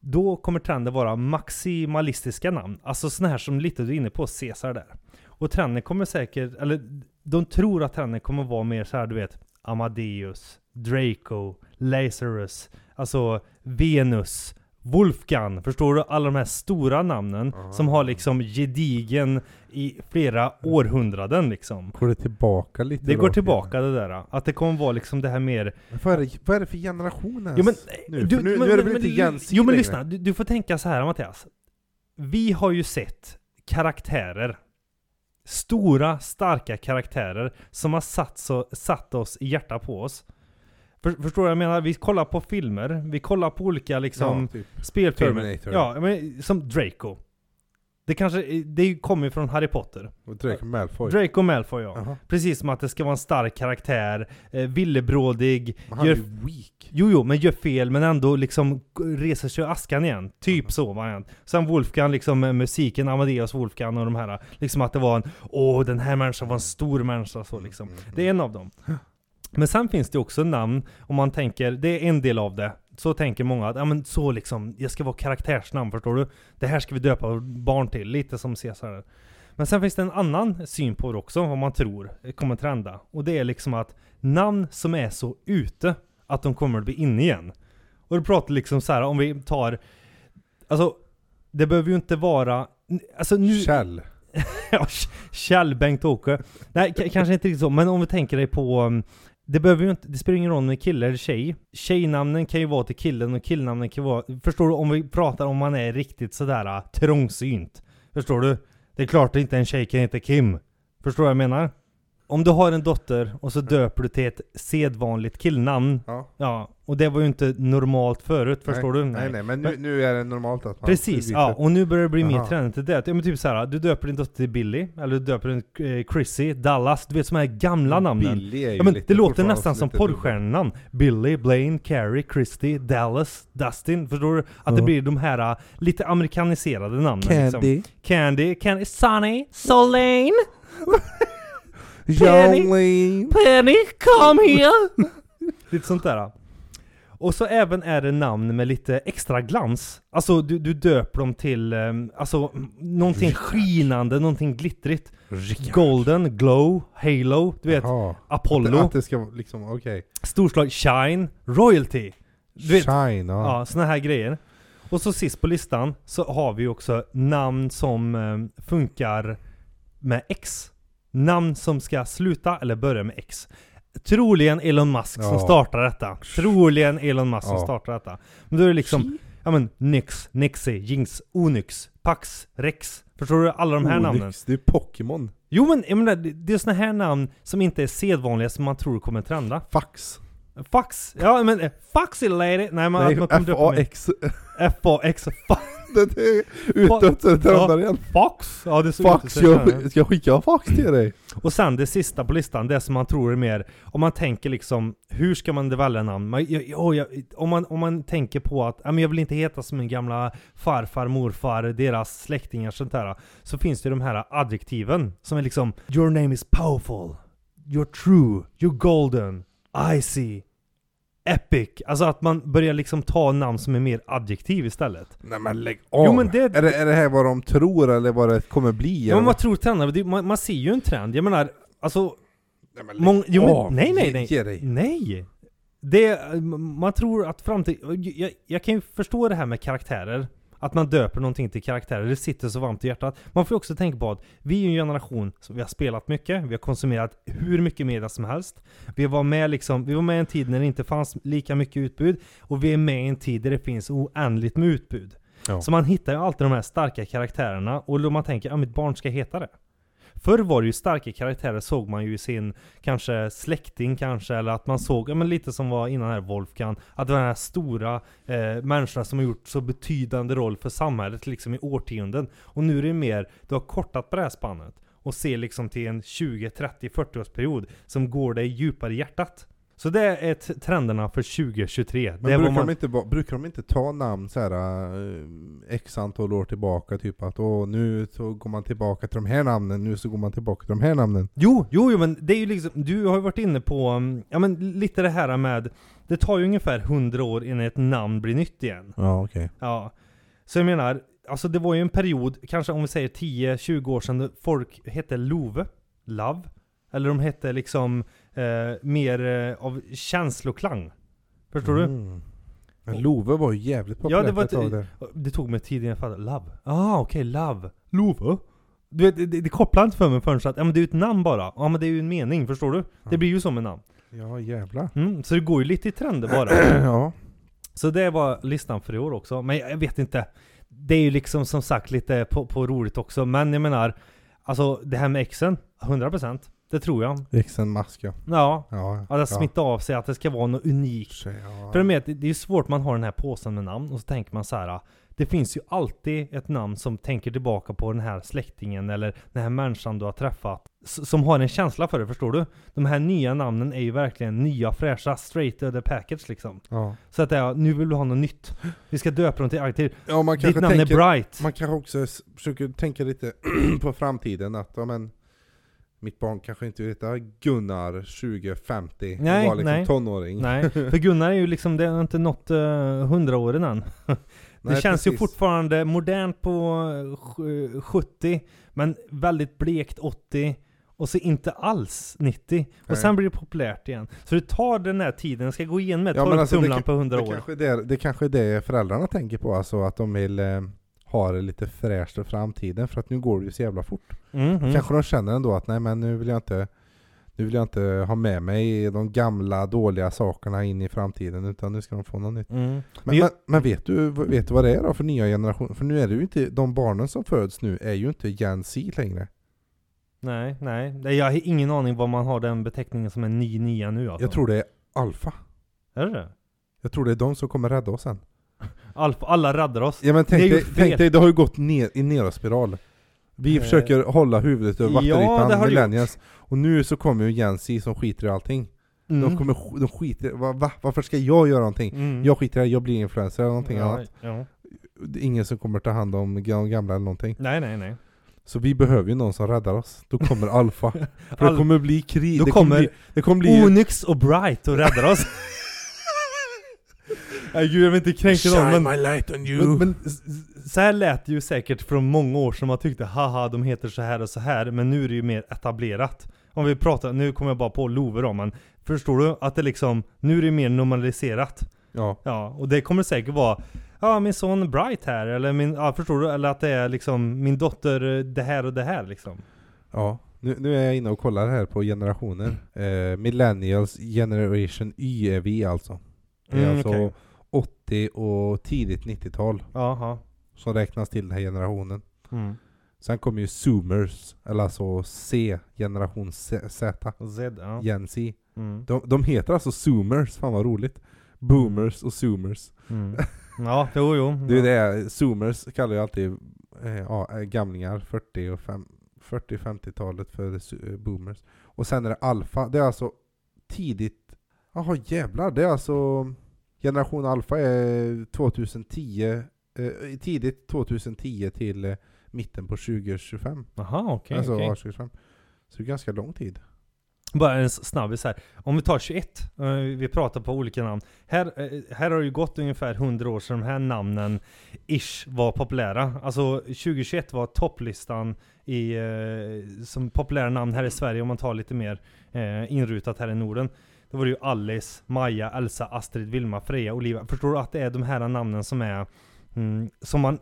Speaker 1: då kommer trenden vara maximalistiska namn, alltså sådana här som lite du är inne på, Caesar där. Och trenden kommer säkert, eller de tror att trenden kommer vara mer så här, du vet, Amadeus, Draco, Lazarus, alltså Venus, Wolfgang, förstår du? Alla de här stora namnen som har liksom gedigen i flera århundraden liksom.
Speaker 2: Går det tillbaka lite?
Speaker 1: Det
Speaker 2: då
Speaker 1: går
Speaker 2: till-
Speaker 1: tillbaka det där, att det kommer vara liksom det här mer...
Speaker 2: Men Vad är, det, vad är det för generation ens?
Speaker 1: Jo men,
Speaker 2: nu, för nu, nu är det väl inte Jens
Speaker 1: Jo men
Speaker 2: längre?
Speaker 1: lyssna, du, du får tänka så här Mattias. Vi har ju sett karaktärer. Stora, starka karaktärer som har satt, så, satt oss i hjärtat på oss. För, förstår du vad jag menar? Vi kollar på filmer, vi kollar på olika liksom...
Speaker 2: ja, typ.
Speaker 1: Spelfilmer.
Speaker 2: Terminator.
Speaker 1: Ja, men som Draco. Det kanske, det kommer ju från Harry Potter.
Speaker 2: Och Drake Malfoy.
Speaker 1: Draco Malfoy ja.
Speaker 2: Jaha.
Speaker 1: Precis som att det ska vara en stark karaktär, eh, villebrådig,
Speaker 2: Men han är
Speaker 1: gör,
Speaker 2: ju weak.
Speaker 1: jo jo men gör fel men ändå liksom g- reser sig ur askan igen. Typ så variant. Sen Wolfgang liksom med musiken, Amadeus Wolfgang och de här. Liksom att det var en, åh den här människan var en stor människa så liksom.
Speaker 2: Mm.
Speaker 1: Det är en av dem. Men sen finns det också namn, om man tänker, det är en del av det. Så tänker många att, ja men så liksom, jag ska vara karaktärsnamn förstår du? Det här ska vi döpa vårt barn till, lite som Caesar. Men sen finns det en annan syn på det också, vad man tror kommer trenda. Och det är liksom att namn som är så ute, att de kommer att bli inne igen. Och du pratar liksom så här om vi tar, alltså det behöver ju inte vara, alltså nu...
Speaker 2: Kjell.
Speaker 1: Ja, Kjell Bengt-Åke. Nej, k- kanske inte riktigt så, men om vi tänker dig på... um, Det behöver ju inte, det spelar ingen roll om det är kille eller tjej. Tjejnamnen kan ju vara till killen och killnamnen kan ju vara... Förstår du? Om vi pratar om man är riktigt sådär uh, trångsynt. Förstår du? Det är klart att inte en tjej kan heta Kim. Förstår du vad jag menar? Om du har en dotter och så döper du till ett sedvanligt killnamn.
Speaker 2: Ja.
Speaker 1: Ja, och det var ju inte normalt förut, förstår du?
Speaker 2: Nej. nej, nej, men nu,
Speaker 1: Men-
Speaker 2: nu är det normalt att man
Speaker 1: Precis,
Speaker 2: byter.
Speaker 1: ja. Och nu börjar det bli mer
Speaker 2: Aha.
Speaker 1: trend till det. Ja, men typ så här, du döper din dotter till Billy, eller du döper din eh, Chrissy, Dallas, du vet sådana här gamla namnen.
Speaker 2: Billy är ju
Speaker 1: Ja, men
Speaker 2: lite
Speaker 1: det låter
Speaker 2: fortfarande
Speaker 1: nästan som
Speaker 2: lite
Speaker 1: porrstjärnenamn. Billy, Blaine, Carrie, Christy, Dallas, Dustin. Förstår du? Att det
Speaker 2: Ja.
Speaker 1: blir de här äh, lite amerikaniserade namnen.
Speaker 2: dubbel.
Speaker 1: Liksom. Candy, Candy, Sunny, Solane, Penny.
Speaker 2: Jolene.
Speaker 1: Penny, come here! lite sånt där. äh. Och så även är det namn med lite extra glans. Alltså du, du döper dem till ehm, alltså, m- någonting skinande, någonting glittrigt. Golden, Glow, Halo, du vet
Speaker 2: Jaha.
Speaker 1: Apollo.
Speaker 2: Att det ska vara liksom, okej.
Speaker 1: Storslag Shine, Royalty. Du vet,
Speaker 2: Shine, ja.
Speaker 1: ja, såna här grejer. Och så sist på listan så har vi också namn som eh, funkar med X. Namn som ska sluta eller börja med X. Troligen Elon Musk som
Speaker 2: Ja.
Speaker 1: startar detta. Troligen Elon Musk som
Speaker 2: Ja.
Speaker 1: startar detta. Men då är det liksom, ja men Nyx, Nixie, Jinx, Onyx, Pax, Rex. Förstår du? Alla de här namnen.
Speaker 2: Olyx, Oh, Det är Pokémon.
Speaker 1: Jo men jag menar, det- det är såna här namn som inte är sedvanliga som man tror kommer trenda.
Speaker 2: Fax.
Speaker 1: Fax, ja men eh, faxy lady! Nej men att
Speaker 2: Nej,
Speaker 1: man kommer upp med
Speaker 2: FAX.
Speaker 1: F-A-X, fa-
Speaker 2: Det är utdött så det trendar igen.
Speaker 1: fax! Ja det såg ut
Speaker 2: Fax,
Speaker 1: så här.
Speaker 2: jag, ska jag skicka fax till dig?
Speaker 1: Och sen det sista på listan, det som man tror är mer, om man tänker liksom, hur ska man välja namn? Man, jag, jag, jag, om, man, om man tänker på att, ja, men jag vill inte heta som min gamla farfar, morfar, deras släktingar, sånt där. Så finns det ju de här adjektiven som är liksom, your name is powerful, you're true, you're golden, icy, epic. Alltså att man börjar liksom ta namn som är mer adjektiv istället.
Speaker 2: Nej men lägg av!
Speaker 1: Jo, men det-
Speaker 2: är, det, är det här vad de tror eller vad det kommer bli?
Speaker 1: Ja,
Speaker 2: eller
Speaker 1: men vad
Speaker 2: vad-
Speaker 1: tror trenden? Det- Man, man ser ju en trend. Jag menar, alltså...
Speaker 2: Nej, men lägg
Speaker 1: Mång, jo,
Speaker 2: av.
Speaker 1: men, nej, nej,
Speaker 2: Ge-
Speaker 1: nej.
Speaker 2: Ge dig!
Speaker 1: Nej! Det, man tror att framtid... Jag, jag kan ju förstå det här med karaktärer. Att man döper någonting till karaktärer, det sitter så varmt i hjärtat. Man får ju också tänka på att vi är ju en generation som vi har spelat mycket, vi har konsumerat hur mycket media som helst. Vi var med liksom, vi var med i en tid när det inte fanns lika mycket utbud, och vi är med i en tid där det finns oändligt med utbud.
Speaker 2: Ja.
Speaker 1: Så man hittar ju alltid de här starka karaktärerna, och då man tänker att ja, mitt barn ska heta det. Förr var det ju starka karaktärer såg man ju i sin kanske släkting kanske, eller att man såg, ja, men lite som var innan här Wolfgang, att det var de här stora eh, människorna som har gjort så betydande roll för samhället liksom i årtionden. Och nu är det mer, du har kortat på det här spannet och ser liksom till en 20, 30, 40 årsperiod som går dig djupare i hjärtat. Så det är t- trenderna för 2023.
Speaker 2: Men
Speaker 1: det är
Speaker 2: brukar,
Speaker 1: vad man...
Speaker 2: de inte, ba- brukar de inte ta namn så här eh, x antal år tillbaka? Typ att åh, nu så går man tillbaka till de här namnen, nu så går man tillbaka till de här namnen.
Speaker 1: Jo, jo, jo, men det är ju liksom, du har ju varit inne på, um, ja men lite det här med, det tar ju ungefär 100 år innan ett namn blir nytt igen.
Speaker 2: Ja okej.
Speaker 1: Ja. Så jag menar, alltså det var ju en period, kanske om vi säger 10-20 år sedan, då folk hette Love, Love, eller de hette liksom eh, mer eh, av känsloklang. Förstår du?
Speaker 2: Mm. Men Love var ju jävligt
Speaker 1: Ja,
Speaker 2: populärt
Speaker 1: det var
Speaker 2: ett tag
Speaker 1: ett-
Speaker 2: där.
Speaker 1: Det tog mig tid innan jag fattade. Love. Ah, okej, love. Love? Du vet, det, det kopplar inte för mig förrän så att, ja men det är ju ett namn bara. Ja men det är ju en mening, förstår du? Det
Speaker 2: Ja.
Speaker 1: blir ju som en namn.
Speaker 2: Ja jävlar.
Speaker 1: Mm, så det går ju lite i trender bara.
Speaker 2: ja.
Speaker 1: Så det var listan för i år också. Men jag vet inte. Det är ju liksom som sagt lite på, på roligt också. Men jag menar, alltså det här med exen, 100%. Det tror jag.
Speaker 2: Xen Mask ja.
Speaker 1: Ja,
Speaker 2: Ja.
Speaker 1: att det smittar av sig, att det ska vara något unikt.
Speaker 2: Ja.
Speaker 1: För med, det det är ju svårt, man har den här påsen med namn och så tänker man så här. ah, Det finns ju alltid ett namn som tänker tillbaka på den här släktingen eller den här människan du har träffat. s- Som har en känsla för det, förstår du? De här nya namnen är ju verkligen nya fräscha, straight out of the package liksom.
Speaker 2: Ja.
Speaker 1: Så att det är, nu vill du ha något nytt. Vi ska döpa dem till aktiv.
Speaker 2: ja man
Speaker 1: Ditt
Speaker 2: kanske
Speaker 1: namn
Speaker 2: tänker
Speaker 1: är Bright.
Speaker 2: Man kanske också s- försöker tänka lite på framtiden att ja, men, mitt barn kanske inte vill heta Gunnar 2050
Speaker 1: Nej,
Speaker 2: och var liksom
Speaker 1: nej.
Speaker 2: tonåring.
Speaker 1: Nej, för Gunnar är ju liksom, det har inte nått uh, hundraåren än. Det
Speaker 2: Nej,
Speaker 1: känns ju
Speaker 2: precis.
Speaker 1: fortfarande modernt på eh, sj- 70, men väldigt blekt 80, och så inte alls 90. Och
Speaker 2: Nej.
Speaker 1: sen blir det populärt igen. Så det tar den här tiden, det ska gå igen med
Speaker 2: Ja, men alltså, det
Speaker 1: torktumlaren
Speaker 2: kan-
Speaker 1: på 100
Speaker 2: Det
Speaker 1: år.
Speaker 2: kanske är det, det kanske är det föräldrarna tänker på, alltså att de vill eh, ha det lite fräscht för framtiden för att nu går det ju så jävla fort.
Speaker 1: Mm, mm.
Speaker 2: Kanske de känner ändå att nej men nu vill jag inte nu vill jag inte ha med mig de gamla dåliga sakerna in i framtiden utan nu ska de få något nytt.
Speaker 1: Mm.
Speaker 2: Men,
Speaker 1: Men jag-
Speaker 2: men, men vet, du, vet du vad det är då för nya generationer? För nu är det ju inte, de barnen som föds nu är ju inte Gen Z längre.
Speaker 1: Nej, nej. Det- Jag har ingen aning vad man har den beteckningen som en ny nia nu alltså.
Speaker 2: Jag tror det är Alfa.
Speaker 1: Är det det?
Speaker 2: Jag tror det är de som kommer rädda oss sen.
Speaker 1: Alf, alla raddar oss.
Speaker 2: Ja men
Speaker 1: Det är
Speaker 2: tänk
Speaker 1: ju
Speaker 2: dig,
Speaker 1: fel.
Speaker 2: tänk dig, det har ju gått ner, i neråt spiral. Vi
Speaker 1: Eh.
Speaker 2: försöker hålla huvudet över
Speaker 1: Ja,
Speaker 2: vattenytan,
Speaker 1: det har det
Speaker 2: millennials. Och nu så kommer ju Jensi som skiter i allting. De,
Speaker 1: Mm.
Speaker 2: kommer, sk- de skiter va, va? Varför ska jag göra någonting?
Speaker 1: Mm.
Speaker 2: Jag skiter i det, jag blir influencer eller någonting
Speaker 1: ja,
Speaker 2: annat.
Speaker 1: ja.
Speaker 2: Det är ingen som kommer ta hand om de gamla eller någonting.
Speaker 1: Nej, nej, nej.
Speaker 2: Så vi behöver ju någon som räddar oss. Då kommer Alfa. För
Speaker 1: Al-
Speaker 2: det kommer bli krig.
Speaker 1: Då
Speaker 2: det
Speaker 1: kommer
Speaker 2: kommer,
Speaker 1: Oh,
Speaker 2: bli, det kommer bli
Speaker 1: Onyx och Bright och räddar oss. Nej gud, jag vill inte kränka någon men,
Speaker 2: my light on
Speaker 1: men, men s- s- så här lät det ju säkert från många år som man tyckte haha de heter så här och så här men nu är det ju mer etablerat. Om vi pratar, nu kommer jag bara på Love då men förstår du att det liksom, nu är det mer normaliserat.
Speaker 2: Ja,
Speaker 1: Ja, och det kommer säkert vara Ja, min son Bright här, eller min, ja förstår du? Eller att det är liksom min dotter eh, det här och det här liksom.
Speaker 2: ja. Nu, nu är jag inne och kollar här på generationer.
Speaker 1: Mm.
Speaker 2: Eh, millennials generation Y är vi alltså. Det är
Speaker 1: Mm,
Speaker 2: alltså
Speaker 1: okej.
Speaker 2: 80 och tidigt 90-tal
Speaker 1: Jaha.
Speaker 2: som räknas till den här generationen.
Speaker 1: Mm.
Speaker 2: Sen kommer ju zoomers, eller alltså C, generation Z. Z
Speaker 1: Och Z, ja.
Speaker 2: Gen Z.
Speaker 1: Mm.
Speaker 2: De, de heter alltså zoomers, fan vad roligt. Boomers och zoomers.
Speaker 1: Mm. Ja, jo, jo.
Speaker 2: Det är
Speaker 1: ja.
Speaker 2: det, zoomers kallar ju alltid eh, ja, gamlingar, 40 och fem- 40-50-talet för su- eh, boomers. Och sen är det alfa, det är alltså tidigt, jaha jävlar, det är alltså generation alfa är 2010, eh, tidigt 2010 till eh, mitten på 2025.
Speaker 1: Jaha, okej.
Speaker 2: alltså
Speaker 1: okej.
Speaker 2: 2025. Så det är ganska lång tid.
Speaker 1: Bara en s- snabbis här. Om vi tar 21, eh, vi pratar på olika namn. Här, eh, här har det ju gått ungefär 100 år sedan de här namnen ish var populära. Alltså 2021 var topplistan i, eh, som populära namn här i Sverige om man tar lite mer eh, inrutat här i Norden. Då var det ju Alice, Maja, Elsa, Astrid, Vilma, Freja, Oliva. Förstår du att det är de här namnen som är mm, som man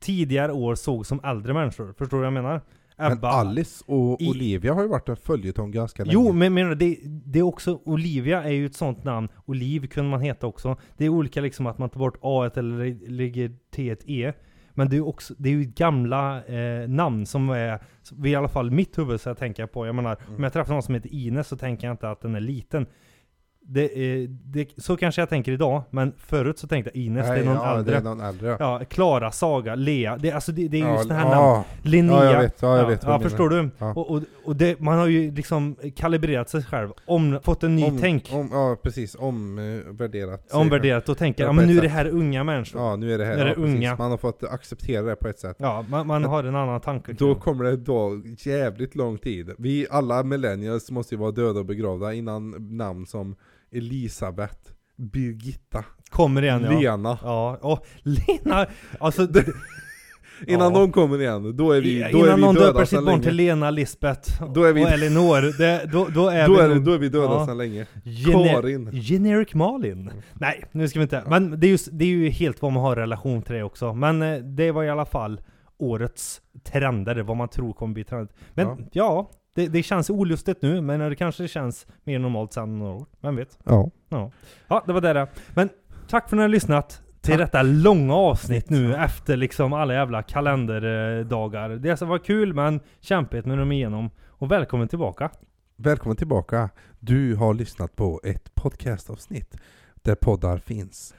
Speaker 1: tidigare år såg som äldre människor? Förstår du vad jag menar?
Speaker 2: Men Alice och
Speaker 1: I-
Speaker 2: Olivia har ju varit en följetong ganska länge.
Speaker 1: Jo, men menar du, det, det är också, Olivia är ju ett sånt namn. Oliv kunde man heta också. Det är olika liksom att man tar bort A eller lägger T ett E. Men det är, också, det är ju gamla eh, namn som är, som i alla fall mitt huvud så jag tänker på. Jag menar, om jag träffar någon som heter Ines så tänker jag inte att den är liten. Det, eh, det, så kanske jag tänker idag, men förut så tänkte jag Ines, det är någon
Speaker 2: ja,
Speaker 1: äldre.
Speaker 2: Det är någon äldre.
Speaker 1: Ja, Klara, Saga, Lea. Det, alltså det, det är just
Speaker 2: Ja,
Speaker 1: det här
Speaker 2: ja,
Speaker 1: namn. Linnea.
Speaker 2: Ja, jag vet. Ja, jag
Speaker 1: Ja,
Speaker 2: vet vad
Speaker 1: ja
Speaker 2: du menar.
Speaker 1: förstår du?
Speaker 2: Ja.
Speaker 1: Och, och, och det, man har ju liksom kalibrerat sig själv, om, fått en ny
Speaker 2: Om-
Speaker 1: tänk,
Speaker 2: Om, ja, precis. Omvärderat.
Speaker 1: omvärderat och tänker
Speaker 2: Ja,
Speaker 1: ja,
Speaker 2: på
Speaker 1: men
Speaker 2: ett
Speaker 1: nu är det
Speaker 2: sätt.
Speaker 1: här unga människor. Ja,
Speaker 2: Ja, nu är det här.
Speaker 1: När det
Speaker 2: ja,
Speaker 1: är
Speaker 2: precis.
Speaker 1: unga.
Speaker 2: Man har fått acceptera det på ett sätt.
Speaker 1: man, man har en annan tanke.
Speaker 2: Då
Speaker 1: kring det.
Speaker 2: kommer det då jävligt lång tid. Vi alla millennials måste ju vara döda och begravda innan namn som Elisabeth, Birgitta,
Speaker 1: kommer igen ja.
Speaker 2: Lena.
Speaker 1: Ja, och Lena, alltså d-
Speaker 2: Innan
Speaker 1: Ja.
Speaker 2: de kommer igen, då är vi, då
Speaker 1: innan
Speaker 2: är vi
Speaker 1: någon
Speaker 2: döda
Speaker 1: döper sitt
Speaker 2: sedan
Speaker 1: barn
Speaker 2: länge.
Speaker 1: till Lena, Lisbeth
Speaker 2: Då är vi-
Speaker 1: och Elinor, det, då, då är
Speaker 2: då,
Speaker 1: vi
Speaker 2: är,
Speaker 1: nog
Speaker 2: då är vi döda
Speaker 1: Ja.
Speaker 2: sedan länge.
Speaker 1: gene-
Speaker 2: Karin.
Speaker 1: Generic
Speaker 2: Mm.
Speaker 1: Malin. Nej, nu ska vi inte. Men det är, just, det är ju helt vad man har relation till det också. Men eh, det var i alla fall årets trender, vad man tror kommer bli trend. Men
Speaker 2: Ja.
Speaker 1: ja, det, det känns olustigt nu, men det kanske känns mer normalt sen om några år. Vem vet?
Speaker 2: Ja.
Speaker 1: Ja, det var det där. Men tack för att ni har lyssnat till
Speaker 2: Tack.
Speaker 1: detta långa avsnitt nu efter liksom alla jävla kalenderdagar. Det som var kul men kämpigt med dem igenom. Och välkommen tillbaka.
Speaker 2: Välkommen tillbaka. Du har lyssnat på ett podcastavsnitt där poddar finns.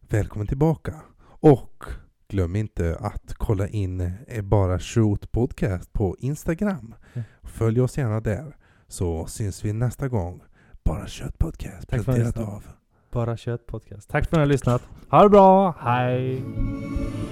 Speaker 2: Välkommen tillbaka. Och glöm inte att kolla in eh, Bara Shoot Podcast på Instagram.
Speaker 1: Mm.
Speaker 2: Följ oss gärna där så syns vi nästa gång. Bara Shoot Podcast
Speaker 1: Tack för att ni
Speaker 2: presenterat
Speaker 1: lyssnade.
Speaker 2: av
Speaker 1: Bara kött podcast. Tack för att ni har lyssnat. Ha det bra, hej!